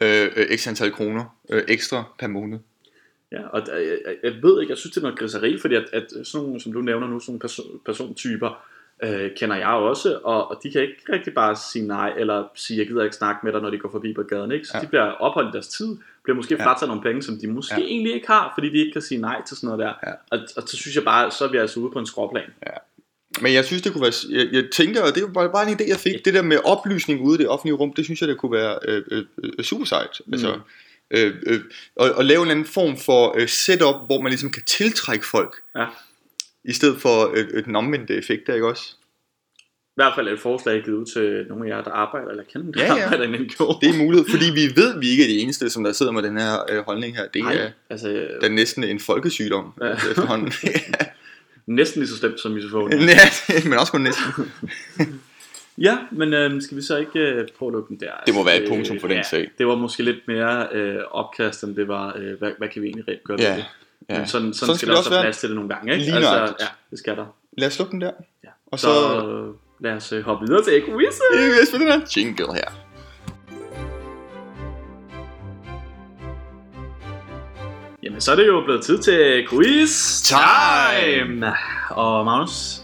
S2: øh, øh, x antal kroner øh, ekstra per måned.
S1: Ja, og der- jeg, jeg- jeg ved ikke, jeg synes det er noget griseri, fordi at, at sådan nogle, som du nævner nu, sådan nogle perso- persontyper, øh, kender jeg også, og, og de kan ikke rigtig bare sige nej, eller sige, jeg gider ikke snakke med dig, når de går forbi på gaden, ikke? Så
S2: Ja.
S1: ja. de bliver opholdt i deres tid, bliver måske
S2: Ja.
S1: frataget nogle penge, som de måske
S2: Ja.
S1: ja. egentlig ikke har, fordi de ikke kan sige nej til sådan noget der.
S2: Ja.
S1: Og, og så synes jeg bare, så er vi altså ude på en skråplan.
S2: Men jeg synes, det kunne være... Jeg, jeg tænker, og det var bare- bare en idé, jeg fik. Det der med oplysning ude i det offentlige rum, det synes jeg, det kunne være øh, øh, øh, super sejt. Altså,
S1: Mm.
S2: øh, øh, og, og lave en anden form for øh, setup, hvor man ligesom kan tiltrække folk.
S1: Ja.
S2: I stedet for øh, øh, den omvendte effekt, der, ikke også?
S1: hvert fald et forslag jeg har givet ud til nogle af jer, der arbejder, eller kender, der
S2: Ja, ja.
S1: arbejder i en NGO.
S2: Det er en mulighed, fordi vi ved, vi ikke er de eneste, som der sidder med den her øh, holdning her. Det
S1: Nej,
S2: er,
S1: altså
S2: det er næsten en folkesygdom
S1: Ja.
S2: ja. efterhånden.
S1: næsten lige så slemt som misofonen.
S2: ja, men også kun næsten.
S1: Ja, men øh, skal vi så ikke øh, prøve at lukke den der?
S2: Det må være et
S1: øh,
S2: punktum for den
S1: ja,
S2: sag.
S1: Det var måske lidt mere øh, opkast, end det var, øh, hvad, hvad kan vi egentlig rent gøre
S2: Ja,
S1: ved det? Men sådan, sådan,
S2: Sådan
S1: sådan
S2: skal
S1: skal
S2: det
S1: der
S2: også
S1: også være
S2: være.
S1: plads til det nogle gange, ikke? Altså,
S2: Lige nøjagtigt.
S1: ja, det skal der.
S2: Lad os slukke den der.
S1: Ja.
S2: Og
S1: Og
S2: så-
S1: så, så lad os øh, hoppe videre til quizzen.
S2: Øh, Jeg spiller den her jingle her.
S1: Jamen, så er det jo blevet tid til quiz
S2: Time!
S1: time. Og Magnus,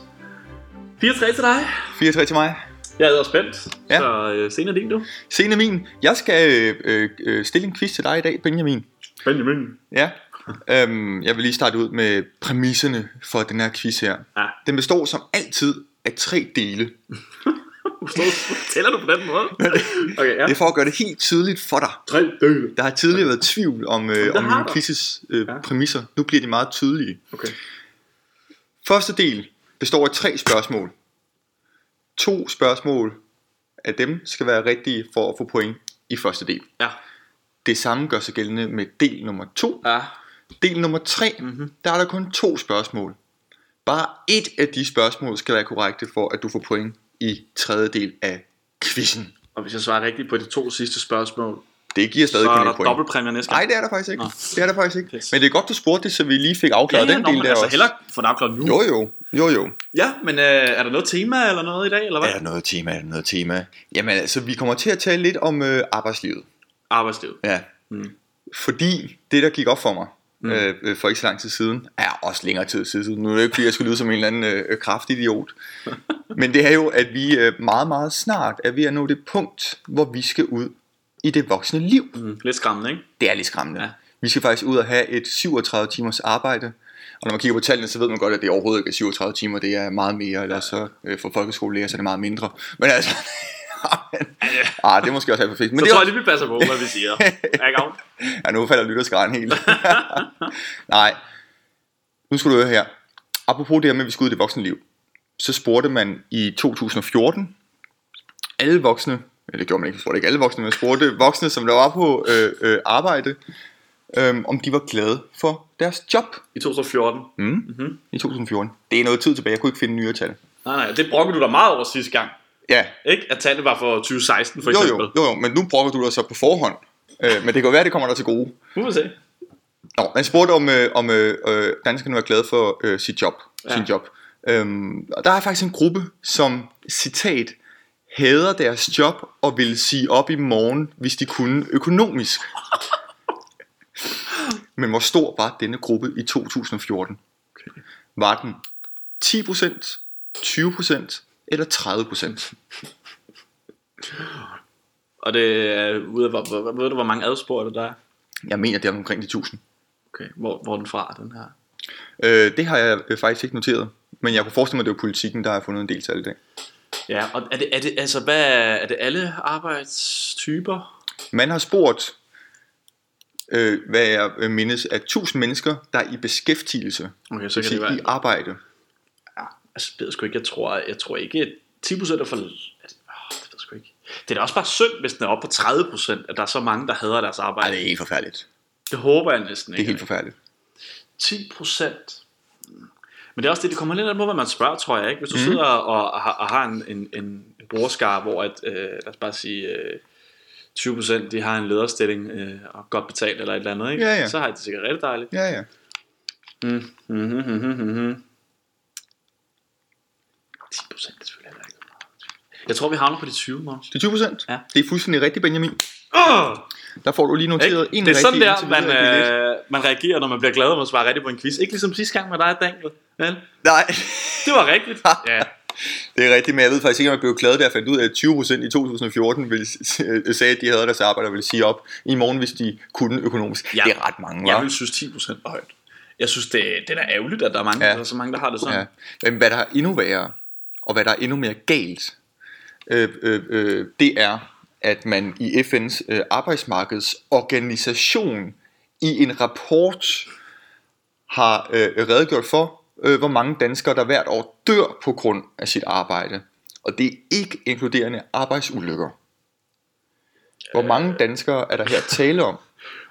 S1: 4-3 til dig.
S2: 4-3 til mig.
S1: Jeg er spændt,
S2: Ja.
S1: ja. så øh, senere din du.
S2: Scene min. Jeg skal øh, øh, øh, stille en quiz til dig i dag, Benjamin.
S1: Benjamin.
S2: Ja. Øhm, jeg vil lige starte ud med præmisserne for den her quiz her.
S1: Ja.
S2: Den består som altid af tre dele.
S1: Forstår- Tæller du på den måde? Okay, ja.
S2: Det er for at gøre det helt tydeligt for dig.
S1: Tre dele.
S2: Der har tidligere været tvivl om, øh,
S1: der
S2: om
S1: har
S2: mine
S1: der.
S2: quizzes øh,
S1: Ja.
S2: præmisser. Nu bliver de meget tydelige.
S1: Okay.
S2: Første del består af tre spørgsmål. To spørgsmål af dem skal være rigtige for at få point i første del.
S1: Ja.
S2: Det samme gør sig gældende med del nummer to.
S1: Ja.
S2: Del nummer tre,
S1: Mhm.
S2: der er der kun to spørgsmål. Bare et af de spørgsmål skal være korrekte for, at du får point i tredje del af quizzen.
S1: Og hvis jeg svarer rigtigt på de to sidste spørgsmål,
S2: Det giver stadig
S1: så er
S2: kun
S1: der
S2: et point.
S1: dobbeltpræmier næste gang.
S2: Nej, det er der faktisk ikke.
S1: Nå.
S2: Det er der faktisk ikke.
S1: Pis.
S2: Men det er godt, du spurgte det, så vi lige fik afklaret den
S1: nå,
S2: del
S1: men
S2: der
S1: altså,
S2: også.
S1: heller få den afklaret nu.
S2: Jo, jo. Jo, jo.
S1: Ja, men øh, er der noget tema eller noget i dag, eller hvad?
S2: Er der noget tema? Er der noget tema? Jamen altså, vi kommer til at tale lidt om øh, arbejdslivet.
S1: Arbejdsliv.
S2: Ja.
S1: Mm.
S2: Fordi det, der gik op for mig
S1: Mm.
S2: øh, øh, for ikke så lang tid siden, er også længere tid siden. Nu er det ikke, fordi jeg skulle lyde som en eller anden øh, kraftig idiot. Men det er jo, at vi øh, meget, meget snart er ved at nå det punkt, hvor vi skal ud i det voksne liv.
S1: Mm. Lidt skræmmende, ikke?
S2: Det er lidt skræmmende. Ja.
S1: Ja.
S2: Vi skal faktisk ud og have et 37 timers arbejde. Og når man kigger på tallene, så ved man godt, at det overhovedet ikke er 37 timer. Det er meget mere, eller så øh, for folkeskolelærer, så er det meget mindre. Men altså... ah, det er måske også alt for fint. Men
S1: Så
S2: det er
S1: tror jeg lige, vi passer på, hvad vi siger. Er ikke af?
S2: Ja, nu falder lytterskaren helt. Nej. Nu skal du høre her. Apropos det her med, at vi skal ud i det voksne liv. Så spurgte man i 2014 alle voksne, eller det gjorde man ikke, man spurgte ikke alle voksne, men man spurgte voksne, som der var på øh, øh, arbejde, øh, om de var glade for deres job
S1: I 2014.
S2: mm.
S1: Mhm.
S2: mm-hmm. i 2014. Det er noget tid tilbage, jeg kunne ikke finde nyere tal.
S1: Nej, nej, det brokkede du dig meget over sidste gang.
S2: Ja,
S1: Ikke? At tallet var for 2016, for
S2: jo
S1: eksempel.
S2: jo, jo, jo, men nu brokker du dig så på forhånd. Øh, men det kan jo være, det kommer dig til gode.
S1: Nu må vi se.
S2: Nå, man spurgte om, øh, om øh, øh, danskerne var glade for øh, sit job. Ja.
S1: Ja.
S2: Sin job. Øhm, og der er faktisk en gruppe, som, citat, hader deres job og ville sige op i morgen, hvis de kunne økonomisk. Men hvor stor var denne gruppe i 2014? Var den 10%, 20% eller 30%?
S1: Og det er ude af, hvor, hvor, ved du, hvor mange adspurgte der er?
S2: Jeg mener, det er omkring de 1000.
S1: Okay, hvor, hvor er den fra, den her?
S2: Øh, det har jeg øh, faktisk ikke noteret. Men jeg kunne forestille mig, at det var politikken, der har fundet en del tal i dag.
S1: Ja, og er det, er det, altså, hvad er, er det alle arbejdstyper?
S2: Man har spurgt, øh, hvad jeg øh, mindes, at 1000 mennesker, der er i beskæftigelse,
S1: Okay, så
S2: det
S1: kan det være
S2: i arbejde.
S1: Altså, det ved jeg sgu ikke. Jeg tror, jeg tror ikke, at 10% er for... Altså, åh, det ved jeg sgu ikke. Det er da også bare synd, hvis den er oppe på 30%, at der er så mange, der hader deres
S2: Ej,
S1: arbejde.
S2: det er helt forfærdeligt.
S1: Det håber jeg næsten
S2: Det er
S1: ikke.
S2: helt forfærdeligt.
S1: 10%. Men det er også det, det kommer lidt an på, hvad man spørger, tror jeg. Ikke? Hvis du
S2: Mhm.
S1: mm. sidder og, og, har- og har en, en, en, en brugerskar, hvor at, øh, lad os bare sige, øh, 20% de har en lederstilling øh, og godt betalt eller et eller andet, ikke?
S2: Ja, ja.
S1: så har de det sikkert rigtig dejligt.
S2: Ja, ja.
S1: Mm, mm,
S2: Mm-hmm,
S1: mm, mm, mm. 10 procent er selvfølgelig heller ikke så meget. Jeg tror, vi havner på de 20, Måns.
S2: Det er 20 procent.
S1: Ja.
S2: Det er fuldstændig rigtigt, Benjamin.
S1: Oh,
S2: Der får du lige noteret en
S1: det er sådan
S2: rigtig
S1: der,
S2: indtil
S1: man,
S2: videre i billet.
S1: øh, man reagerer, når man bliver glad, når man svarer rigtigt på en quiz. Ikke ligesom sidste gang med dig, Daniel. Vel?
S2: Nej,
S1: Det var rigtigt. Ja.
S2: det er rigtigt, men jeg ved faktisk ikke, om jeg blev glad, da jeg fandt ud af, at 20 procent i 2014 ville, s- øh, sagde, at de havde deres arbejde og ville sige op i morgen, hvis de kunne økonomisk.
S1: Ja.
S2: Det er ret mange,
S1: Jeg
S2: hva'?
S1: vil synes 10 procent var højt. Jeg synes, det, det er da ærgerligt, at der er, mange, ja.
S2: Ja.
S1: der er så mange, der har det sådan.
S2: Ja.
S1: Ja.
S2: Men hvad der er endnu værre, og hvad der er endnu mere galt, øh, øh, øh, det er, at man i FN's øh, arbejdsmarkedsorganisation i en rapport har øh, redegjort for, øh, hvor mange danskere, der hvert år dør på grund af sit arbejde. Og det er ikke inkluderende arbejdsulykker. Hvor mange danskere er der her tale om?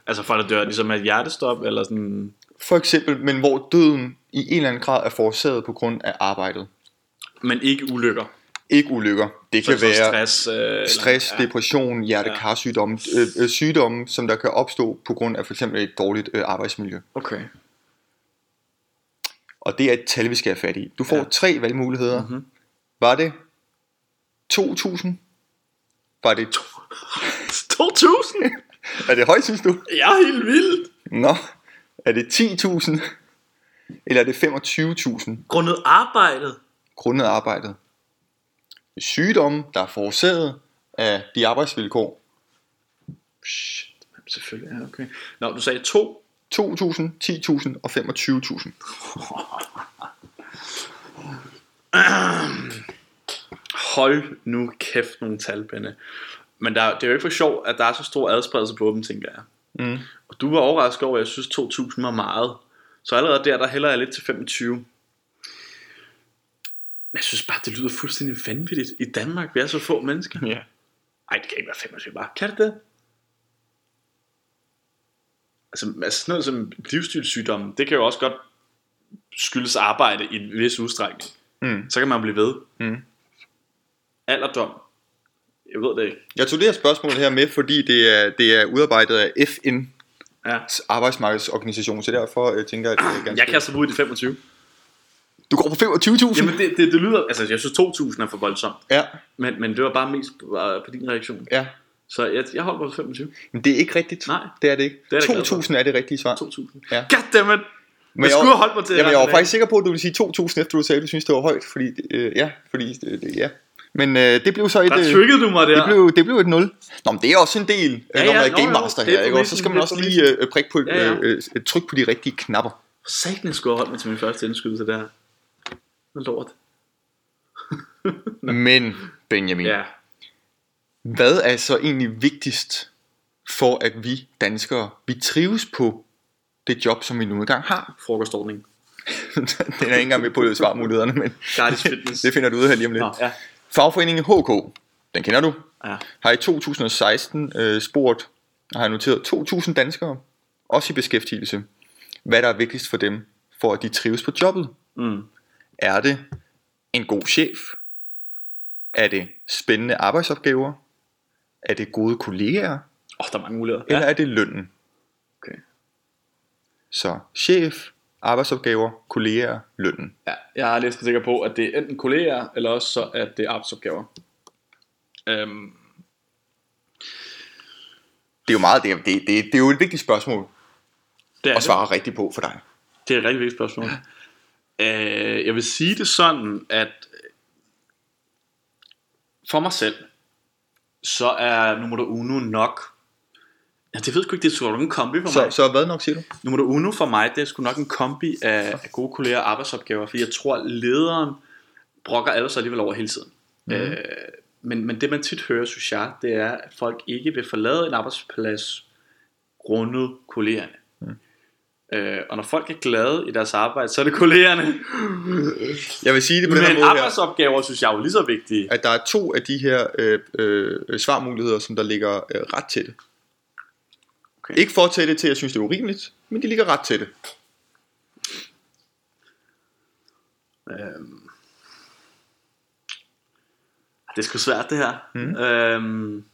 S1: Altså folk, der dør ligesom af et hjertestop, eller sådan...
S2: For eksempel, men hvor døden i en eller anden grad er forårsaget på grund af arbejdet.
S1: Men ikke ulykker.
S2: Ikke ulykker. Det kan
S1: Så, så
S2: være
S1: stress. Øh, eller-
S2: stress,
S1: ja.
S2: depression, hjertekarsygdomme, øh, øh, sygdomme, som der kan opstå på grund af for eksempel et dårligt øh, arbejdsmiljø.
S1: Okay.
S2: Og det er et tal, vi skal have fat i. Du får
S1: Ja.
S2: ja. tre valgmuligheder.
S1: Mhm.
S2: Mm-hmm. Var det 2.000? Var det...
S1: 2000?
S2: Er det højt, synes du?
S1: Jeg er helt vild.
S2: Nå. Er det 10.000? Eller er det 25.000
S1: Grundet arbejdet.
S2: grundet arbejdet? Det er Sygdomme, der er forårsaget af de arbejdsvilkår.
S1: Shit, jamen, selvfølgelig. Ja, okay. Nå, du sagde to.
S2: 2.000, 10.000 og 25.000.
S1: Hold nu kæft nogle talpinde. Men der, det er jo ikke for sjovt, at der er så stor adspredelse på dem, tænker jeg.
S2: Mm.
S1: Og du var overrasket over, at jeg synes 2000 var meget. Så allerede der, der hælder jeg lidt til 25. Men jeg synes bare, det lyder fuldstændig vanvittigt. I Danmark, vi er så få mennesker.
S2: Ja.
S1: Ej, det kan ikke være 25 bare. Kan det det? Altså, altså sådan noget som livsstilssygdomme, det kan jo også godt skyldes arbejde i en vis udstrækning.
S2: Mm.
S1: Så kan man blive ved.
S2: Mm.
S1: Alderdom. Jeg ved det ikke.
S2: Jeg tog det her spørgsmål her med, fordi det er, det er udarbejdet af FN's
S1: Ja.
S2: arbejdsmarkedsorganisation, så derfor øh, tænker jeg, at det er ganske...
S1: Jeg kaster mig ud i de 25.
S2: Du går på 25.000?
S1: Jamen, det, det, det lyder... Altså, jeg synes 2.000 er for voldsomt.
S2: Ja,
S1: Men, men det var bare mest på, øh, på din reaktion.
S2: ja.
S1: Så jeg, jeg holder mig på 25.
S2: Men det er ikke rigtigt.
S1: Nej.
S2: Det er det ikke.
S1: Det er jeg da glad for.
S2: 2.000 er det rigtige svar.
S1: 2.000. Ja.
S2: Ja.
S1: Goddammit! Men jeg
S2: jeg
S1: skulle
S2: var-
S1: have holdt mig til
S2: Jamen,
S1: det her
S2: jeg var
S1: i dag.
S2: faktisk sikker på, at du ville sige 2.000, efter du sagde, at du synes, det var højt. Fordi, øh, ja, fordi, øh, det- ja. Men øh, det blev så et...
S1: Der
S2: øh,
S1: triggede du mig der.
S2: det blev, det blev et 0. Nå, men det er også en del, øh,
S1: Ja,
S2: når man
S1: ja,
S2: er
S1: nå,
S2: Game
S1: jo,
S2: Master
S1: det er
S2: her, ikke? også? så
S1: præmissen,
S2: skal
S1: det
S2: man
S1: er
S2: også lige øh, prikke på,
S1: Ja, ja.
S2: øh, øh, trykke på de rigtige knapper.
S1: Satan, skulle jeg holde mig til min første indskydelse der. Noget lort.
S2: Men, Benjamin,
S1: Ja.
S2: hvad er så egentlig vigtigst for, at vi danskere, vi trives på det job, som vi nu engang har?
S1: Frokostordning.
S2: Den er jeg ikke engang med på svarmulighederne, men
S1: Gratis fitness.
S2: det finder du ud af her lige om lidt.
S1: Nå, ja.
S2: Fagforeningen HK, den kender du,
S1: ja.
S2: har i 2016 øh, spurgt, og har noteret 2.000 danskere, også i beskæftigelse, hvad der er vigtigst for dem, for at de trives på jobbet.
S1: Mm.
S2: Er det en god chef? Er det spændende arbejdsopgaver? Er det gode kollegaer?
S1: Oh, der er mange muligheder.
S2: Eller er det lønnen?
S1: Okay.
S2: Så chef, arbejdsopgaver, kollegaer, lønnen.
S1: Ja, jeg er næsten sikker på, at det er enten kolleger, eller også så, at det er arbejdsopgaver. Øhm,
S2: Det er jo meget det, er- det, det, det er jo et vigtigt spørgsmål
S1: det er
S2: at svare rigtigt på for dig.
S1: Det, det er et rigtig vigtigt spørgsmål. øh, jeg vil sige det sådan, at for mig selv, så er nummer uno nok... Ja, det ved jeg sgu ikke, det er sgu nok en kombi for
S2: Så,
S1: mig.
S2: så hvad nok siger du?
S1: Nummer uno for mig, det er sgu nok en kombi af, af gode kolleger og arbejdsopgaver, fordi jeg tror, at lederen brokker alle sig alligevel over hele tiden.
S2: Mhm.
S1: Mm. Øh, men, men det, man tit hører, synes jeg, det er, at folk ikke vil forlade en arbejdsplads grundet kollegerne.
S2: Mhm.
S1: Mm. Øh, og når folk er glade i deres arbejde, så er det kollegerne.
S2: Jeg vil sige det på den her
S1: Men
S2: måde her,
S1: arbejdsopgaver, synes jeg, er jo lige så vigtige.
S2: at der er to af de her øh, øh, svarmuligheder, som der ligger øh, ret tætte.
S1: Okay.
S2: Okay. Ikke for tætte til, at jeg synes, det er urimeligt, men de ligger ret tætte.
S1: Øhm. Det er sgu svært det her. Mm. Øhm.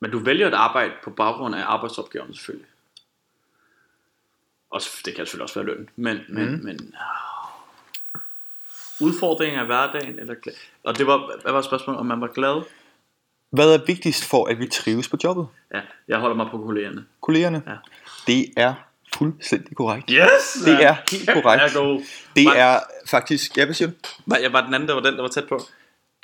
S1: Men du vælger et arbejde på baggrund af arbejdsopgaven selvfølgelig. Også, det kan selvfølgelig også være løn. Men, men, mm. men åh. udfordringer i hverdagen. Eller, gla- og det var, hvad var spørgsmålet, om man var glad?
S2: Hvad er vigtigst for, at vi trives på jobbet?
S1: Ja, jeg holder mig på kollegerne.
S2: Kollegerne?
S1: Ja.
S2: Det er fuldstændig korrekt.
S1: Yes!
S2: Det er helt korrekt.
S1: Jeg, god.
S2: Det
S1: Var-
S2: er faktisk, ja, hvad siger du?
S1: var, jeg var den anden, der var den, der var tæt på.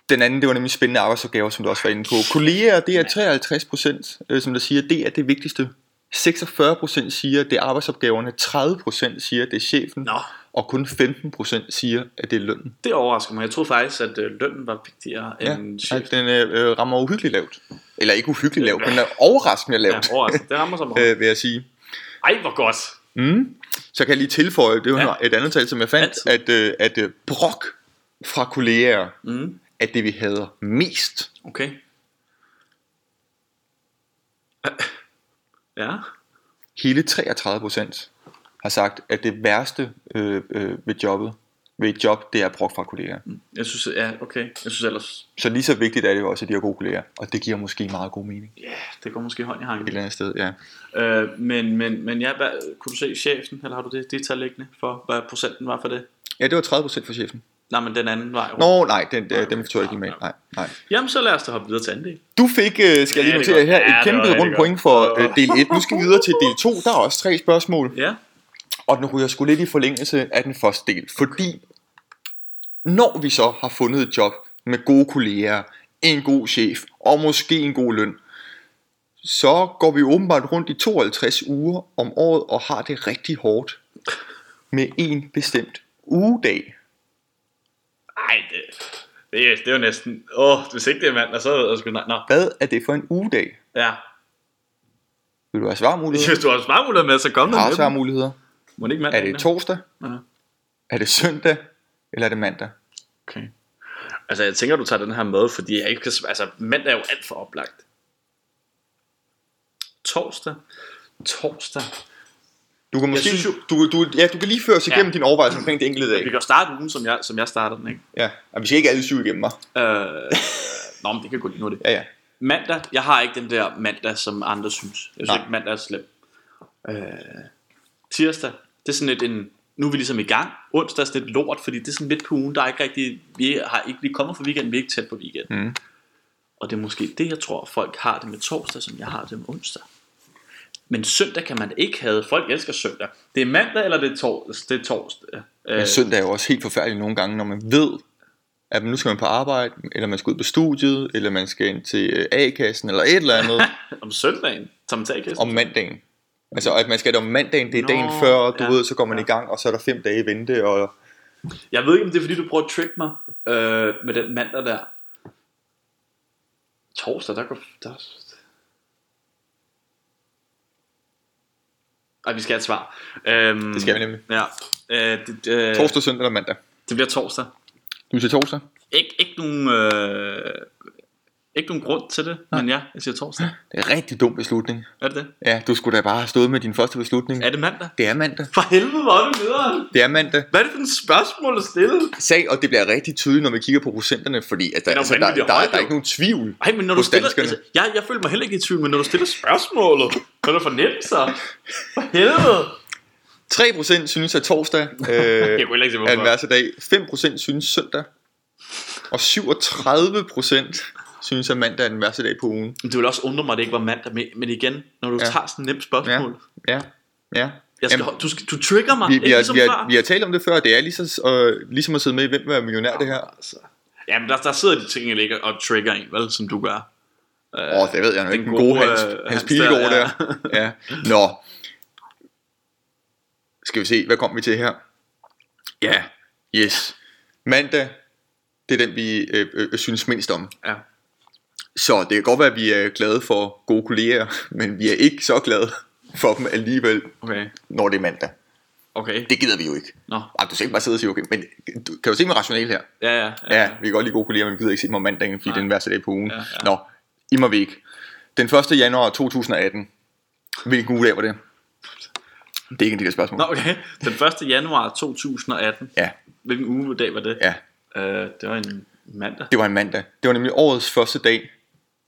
S2: Den anden, det var nemlig spændende arbejdsopgaver, som du også var inde på. Kolleger, det er 53 procent, øh, som der siger, det er det vigtigste. 46 procent siger, det er arbejdsopgaverne. 30 procent siger, det er chefen.
S1: Nå.
S2: Og kun 15 procent siger, at det er lønnen.
S1: Det overrasker mig. Jeg troede faktisk, at øh, lønnen var vigtigere
S2: Ja,
S1: end chef.
S2: at den øh, øh, rammer uhyggeligt lavt. Eller ikke uhyggeligt lavt, men er overraskende
S1: Ja,
S2: lavt,
S1: overraskende. Det rammer så meget.
S2: øh, vil jeg sige.
S1: Ej, hvor godt.
S2: Mm. Så kan jeg lige tilføje, det var
S1: Ja.
S2: ja. et andet tal, som jeg fandt, at, øh, at øh, brok fra kolleger
S1: Mm.
S2: er det, vi hader mest.
S1: Okay. Øh, Ja.
S2: Hele 33 procent har sagt, at det værste øh, øh, ved jobbet, ved et job, det er brok fra kolleger.
S1: Jeg synes, ja, okay. Jeg synes ellers,
S2: Så lige så vigtigt er det jo også, at de har gode kolleger, og det giver måske meget god mening et
S1: ja, det går måske hånd i hanken.
S2: eller andet sted. Ja.
S1: Øh, men, men, men ja, hvad, kunne du se chefen, eller har du det, det tal liggende for, hvad procenten var for det?
S2: ja, det var 30 procent for chefen.
S1: Nej, men den anden vej. rundt.
S2: Nå, nej, den,
S1: Nej,
S2: øh, dem tog jeg ikke med.
S1: nej,
S2: Nej, nej.
S1: Jamen, så lad os da hoppe videre til anden del.
S2: Du fik, øh, skal jeg
S1: Ja,
S2: lige
S1: det
S2: notere
S1: er
S2: her,
S1: godt. Ja,
S2: et
S1: det var
S2: kæmpe
S1: rigtig godt.
S2: rundt point for
S1: Det
S2: øh,
S1: var-
S2: del 1. Nu skal vi videre til del 2. Der er også tre spørgsmål.
S1: Ja,
S2: Og den ryger sgu lidt i forlængelse af den første del, fordi når vi så har fundet et job med gode kolleger, en god chef og måske en god løn, så går vi åbenbart rundt i 52 uger om året og har det rigtig hårdt med en bestemt ugedag.
S1: ej, det, det, er- det er jo næsten, åh, hvis ikke det er mandag, så er det sgu, nej, nå,
S2: Hvad er det for en ugedag?
S1: ja.
S2: Vil du have svarmuligheder?
S1: Hvis du har svarmuligheder med, så kom
S2: Jeg
S1: med
S2: har
S1: dem.
S2: svarmuligheder.
S1: Må det ikke mandag?
S2: Er det
S1: ikke?
S2: torsdag?
S1: Ja.
S2: Er det søndag? Eller er det mandag?
S1: Okay. Altså, jeg tænker, du tager den her med, fordi jeg ikke kan... Altså, mandag er jo alt for oplagt. Torsdag. Torsdag.
S2: Du kan måske,
S1: synes jo-
S2: du, du, ja, du kan lige føre sig
S1: Ja.
S2: igennem din overvejelse omkring det enkelte dag.
S1: Vi kan jo starte ugen, som jeg, som jeg starter den, ikke?
S2: Ja, og vi skal ikke alle syv igennem mig.
S1: Øh, nå, men det kan gå lige nu, det.
S2: Ja, ja.
S1: Mandag. Jeg har ikke den der mandag, som andre synes. Jeg synes
S2: Nej.
S1: ikke, mandag er slem. Øh, tirsdag. Det er sådan lidt en... Nu er vi ligesom i gang. Onsdag er sådan lidt lort, fordi det er sådan lidt på ugen, der er ikke rigtig... Vi har ikke... Vi kommer fra weekenden, vi er ikke tæt på weekenden.
S2: Mm.
S1: Og det er måske det, jeg tror, folk har det med torsdag, som jeg har det med onsdag. Men søndag kan man ikke have. Folk elsker søndag. Det er mandag, eller det er torsdag? Det er torsdag.
S2: Men
S1: Øh,
S2: søndag er jo også helt forfærdeligt nogle gange, når man ved, at nu skal man på arbejde, eller man skal ud på studiet, eller man skal ind til øh, A-kassen, eller et eller andet
S1: Øh, om søndagen. Som tagkæsten.
S2: om mandagen. Altså, at man skal det om mandagen, det er
S1: Nå,
S2: dagen før, og du
S1: ja,
S2: ved, så går man
S1: ja.
S2: i gang, og så er der fem dage i vente, og
S1: Jeg ved ikke, om det er, fordi du prøver at trick mig øh, med den mandag der. Torsdag, der går... Der... Ej, vi skal have et svar. Øhm,
S2: Det skal vi nemlig.
S1: Ja. Øh, det, øh,
S2: torsdag, søndag eller mandag.
S1: det bliver torsdag.
S2: Du siger torsdag?
S1: Ik- ikke, nogen, øh, ikke nogen grund til det, men ja, jeg siger torsdag.
S2: Det er en rigtig dum beslutning.
S1: Er det det?
S2: Ja, du skulle da bare have stået med din første beslutning.
S1: Er det mandag?
S2: Det er mandag.
S1: For helvede, hvor er det videre?
S2: Det er mandag.
S1: Hvad er det for et spørgsmål at stille?
S2: Sag, og det bliver rigtig tydeligt, når vi kigger på procenterne, fordi at der,
S1: er jo
S2: altså, der, der,
S1: vanvittigt
S2: der,
S1: højt,
S2: er- der er
S1: jo.
S2: ikke nogen tvivl.
S1: Ej, men når du
S2: hos
S1: stiller,
S2: danskerne.
S1: altså, jeg, jeg føler mig heller ikke i tvivl, men når du stiller spørgsmålet, når du fornemmer sig, for helvede.
S2: 3% synes, at torsdag øh,
S1: Jeg kunne heller ikke se,
S2: er den
S1: hvorfor.
S2: værste dag. 5% synes søndag. Og 37% synes, at mandag er den værste dag på ugen.
S1: Men Det vil også undre mig, at det ikke var mandag, men- men igen, når du ja.
S2: Ja.
S1: tager sådan et nemt spørgsmål, ja. jeg
S2: Ja, ja.
S1: skal,
S2: Jamen,
S1: Jamen, du, skal, du trigger mig,
S2: vi,
S1: ikke
S2: vi, har,
S1: ligesom
S2: vi,
S1: før.
S2: har, vi har talt om det før, det er ligesom, øh, ligesom at sidde med i Hvem vil være millionær, det her.
S1: Altså. Jamen, der, der sidder de ting, jeg ligger og trigger en, vel, som du gør.
S2: Åh, oh, det ved jeg nok
S1: den
S2: ikke. Den gode,
S1: gode,
S2: Hans,
S1: øh,
S2: Hans,
S1: Hans
S2: Hans
S1: der,
S2: Pilgaard
S1: ja.
S2: der. Ja. Nå. Skal vi se, hvad kom vi til her? Ja, yes. Mandag, det er den, vi øh, øh, synes mindst om.
S1: Ja.
S2: Så det kan godt være, at vi er glade for gode kolleger, men vi er ikke så glade for dem alligevel,
S1: Okay.
S2: når det er mandag.
S1: Okay.
S2: Det gider vi jo ikke.
S1: Nå.
S2: Ej, du skal ikke bare sidde og sige, okay, men du, kan du se mig rationelt her?
S1: Ja, ja.
S2: Ja, vi kan godt lide gode kolleger, men vi gider ikke se dem om mandagen, fordi
S1: Nej.
S2: det er den værste dag på ugen.
S1: Ja,
S2: Ja,
S1: ja.
S2: ja. Nå, i må vi ikke. Den 1. januar 2018, hvilken uge dag var det? Det er ikke en del af spørgsmålet.
S1: Nå, okay. Den 1. januar 2018.
S2: Ja,
S1: Hvilken ugedag var det?
S2: ja,
S1: Øh, det var en mandag.
S2: det var en mandag. Det var nemlig årets første dag,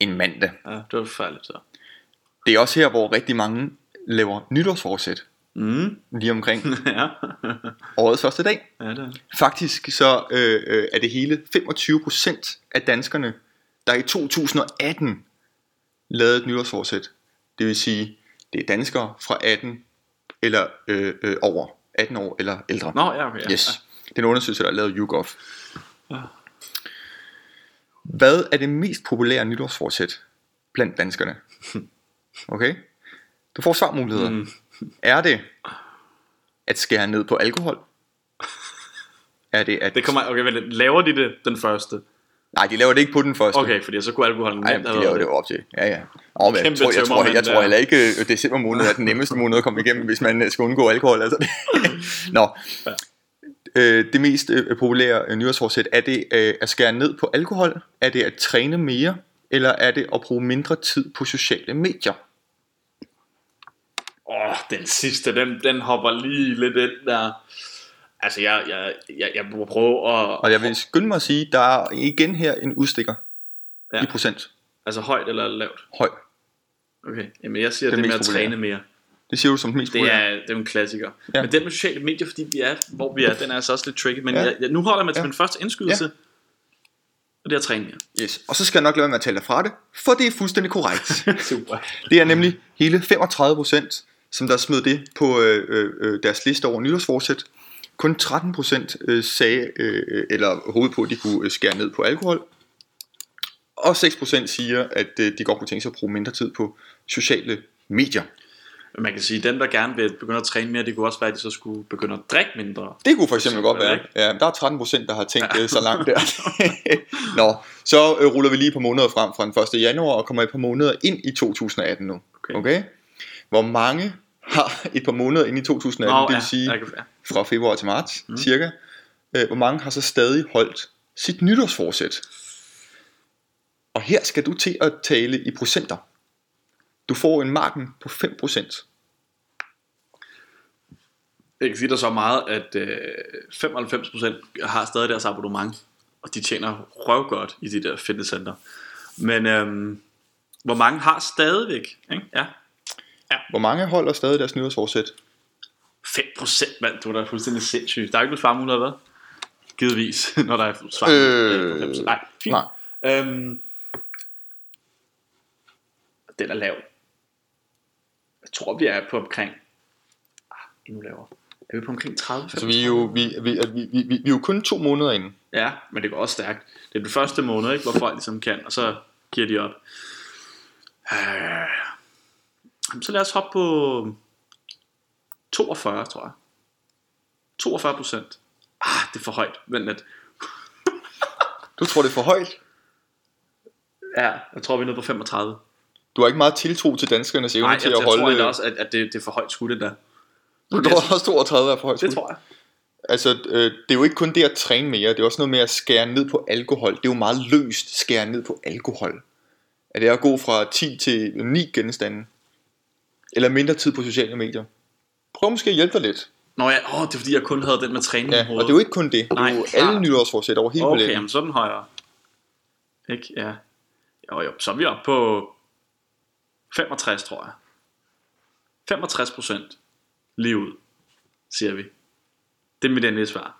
S2: en mandag.
S1: Ja, det var forfærdeligt så.
S2: Det er også her, hvor rigtig mange laver nytårsforsæt,
S1: Mm.
S2: lige omkring
S1: ja.
S2: årets første dag.
S1: ja, det er det.
S2: Faktisk så øh, øh, er det hele 25% af danskerne, der i 2018 lavede et nytårsforsæt. Det vil sige, det er danskere fra 18 eller øh, øh, over 18 år eller ældre.
S1: Nå, ja, okay. Ja.
S2: Yes. Det er en undersøgelse, der er lavet af YouGov.
S1: Ja.
S2: Hvad er det mest populære nytårsforsæt blandt danskerne? Okay? Du får svarmuligheder.
S1: Mm.
S2: Mm. Er det at skære ned på alkohol? Er det at
S1: Det kommer, okay, vent, lidt. laver de det den første?
S2: Nej, de laver det ikke på den første.
S1: Okay, fordi så kunne alkoholen
S2: Nej,
S1: nemt
S2: de
S1: have
S2: laver
S1: været
S2: det jo op til. Ja, ja. Nå, men jeg,
S1: Kæmpe
S2: tror, jeg, tror, jeg,
S1: tømmermand
S2: jeg tror
S1: der.
S2: heller ikke, at december måned er den nemmeste måned at komme igennem, hvis man øh, skal undgå alkohol. Altså. Nå.
S1: Ja.
S2: Øh, det mest øh, populære øh, nyårsforsæt, er det øh, at skære ned på alkohol? Er det at træne mere? Eller er det at bruge mindre tid på sociale medier?
S1: Åh, oh, den sidste, den, den hopper lige lidt ind der. Altså, jeg, jeg, jeg, jeg må prøve at...
S2: Og jeg vil skynde mig at sige, der er igen her en udstikker
S1: Ja.
S2: ja. i procent.
S1: Altså, højt eller lavt?
S2: Høj.
S1: Okay, jamen jeg siger
S2: Den
S1: det, med
S2: mest
S1: at
S2: populære.
S1: træne mere.
S2: Det siger du som den mest
S1: Det
S2: populære.
S1: er, det er jo en klassiker. Ja.
S2: Ja.
S1: Men den med sociale medier, fordi vi er, hvor vi er, den er altså også lidt tricky. Men ja.
S2: Ja.
S1: jeg, jeg, nu holder jeg mig til ja.
S2: Ja.
S1: min første indskydelse. Ja. Og det er at træne mere.
S2: Yes. Og så skal jeg nok lade være med at tale dig fra det, for det er fuldstændig korrekt.
S1: Super.
S2: Det er nemlig hele 35 procent, som der smed det på øh, øh, øh, deres liste over nytårsforsæt. Kun 13 procent øh, sagde, øh, øh, eller håbede på, at de kunne øh, skære ned på alkohol. Og 6 procent siger, at øh, de godt kunne tænke sig at bruge mindre tid på sociale medier.
S1: Men man kan sige, at dem, der gerne vil begynde at træne mere, det kunne også være, at de så skulle begynde at drikke mindre.
S2: Det kunne for eksempel godt være.
S1: Ikke?
S2: Ja, der er 13 procent, der har tænkt ja. så langt der. Nå, så øh, ruller vi lige et par måneder frem fra den 1. januar og kommer et par måneder ind i 2018 nu.
S1: Okay.
S2: okay? Hvor mange har et par måneder ind i 2018,
S1: Nå,
S2: det vil
S1: ja,
S2: sige
S1: jeg kan- ja.
S2: fra februar til marts mm. cirka, øh, hvor mange har så stadig holdt sit nytårsforsæt. Og her skal du til at tale i procenter. Du får en marken på 5%.
S1: Jeg kan sige dig så meget, at øh, 95% har stadig deres abonnement, og de tjener røvgodt i de der fitnesscenter. Men øhm, hvor mange har stadigvæk? Ikke? Ja,
S2: Hvor mange holder stadig deres nytårsforsæt?
S1: 5% mand, du er da fuldstændig sindssyg. Der er ikke blevet farmul, eller hvad? Givetvis, når der er svar.
S2: Øh,
S1: nej, fint.
S2: nej.
S1: Øhm, den er lav. Jeg tror, vi er på omkring... Ah, endnu lavere. Er vi på omkring 30?
S2: Så Altså, vi er jo, vi, vi, vi, vi, vi er jo kun to måneder inde.
S1: Ja, men det går også stærkt. Det er den første måned, ikke, hvor folk ligesom kan, og så giver de op. Øh, jamen, så lad os hoppe på 42, tror jeg. 42 procent. Ah, det er for højt. Vent lidt.
S2: Du tror, det er for højt?
S1: Ja, jeg tror, vi er nede på 35.
S2: Du har ikke meget tiltro til danskernes evne
S1: Nej,
S2: til
S1: jeg,
S2: at
S1: jeg
S2: holde...
S1: tror egentlig også, at, at det, det er for højt skudt, det der.
S2: du tror også 32 er for højt.
S1: Det tror jeg.
S2: Altså, øh, det er jo ikke kun det at træne mere, det er også noget med at skære ned på alkohol. Det er jo meget løst skære ned på alkohol. Er det at gå fra 10 til 9 genstande? Eller mindre tid på sociale medier? Prøv måske at hjælpe dig lidt.
S1: Nå ja, åh, det er fordi, jeg kun havde den med træning i
S2: Ja, og
S1: hovedet.
S2: det er jo ikke kun det. Det er
S1: Nej,
S2: jo
S1: klart.
S2: alle nytårsforsæt over hele
S1: Okay,
S2: paletten.
S1: jamen, så er den højere. Ikke? Ja. Jo, jo, så er vi oppe på 65, tror jeg. 65 procent lige ud, siger vi. Det er mit endelige svar.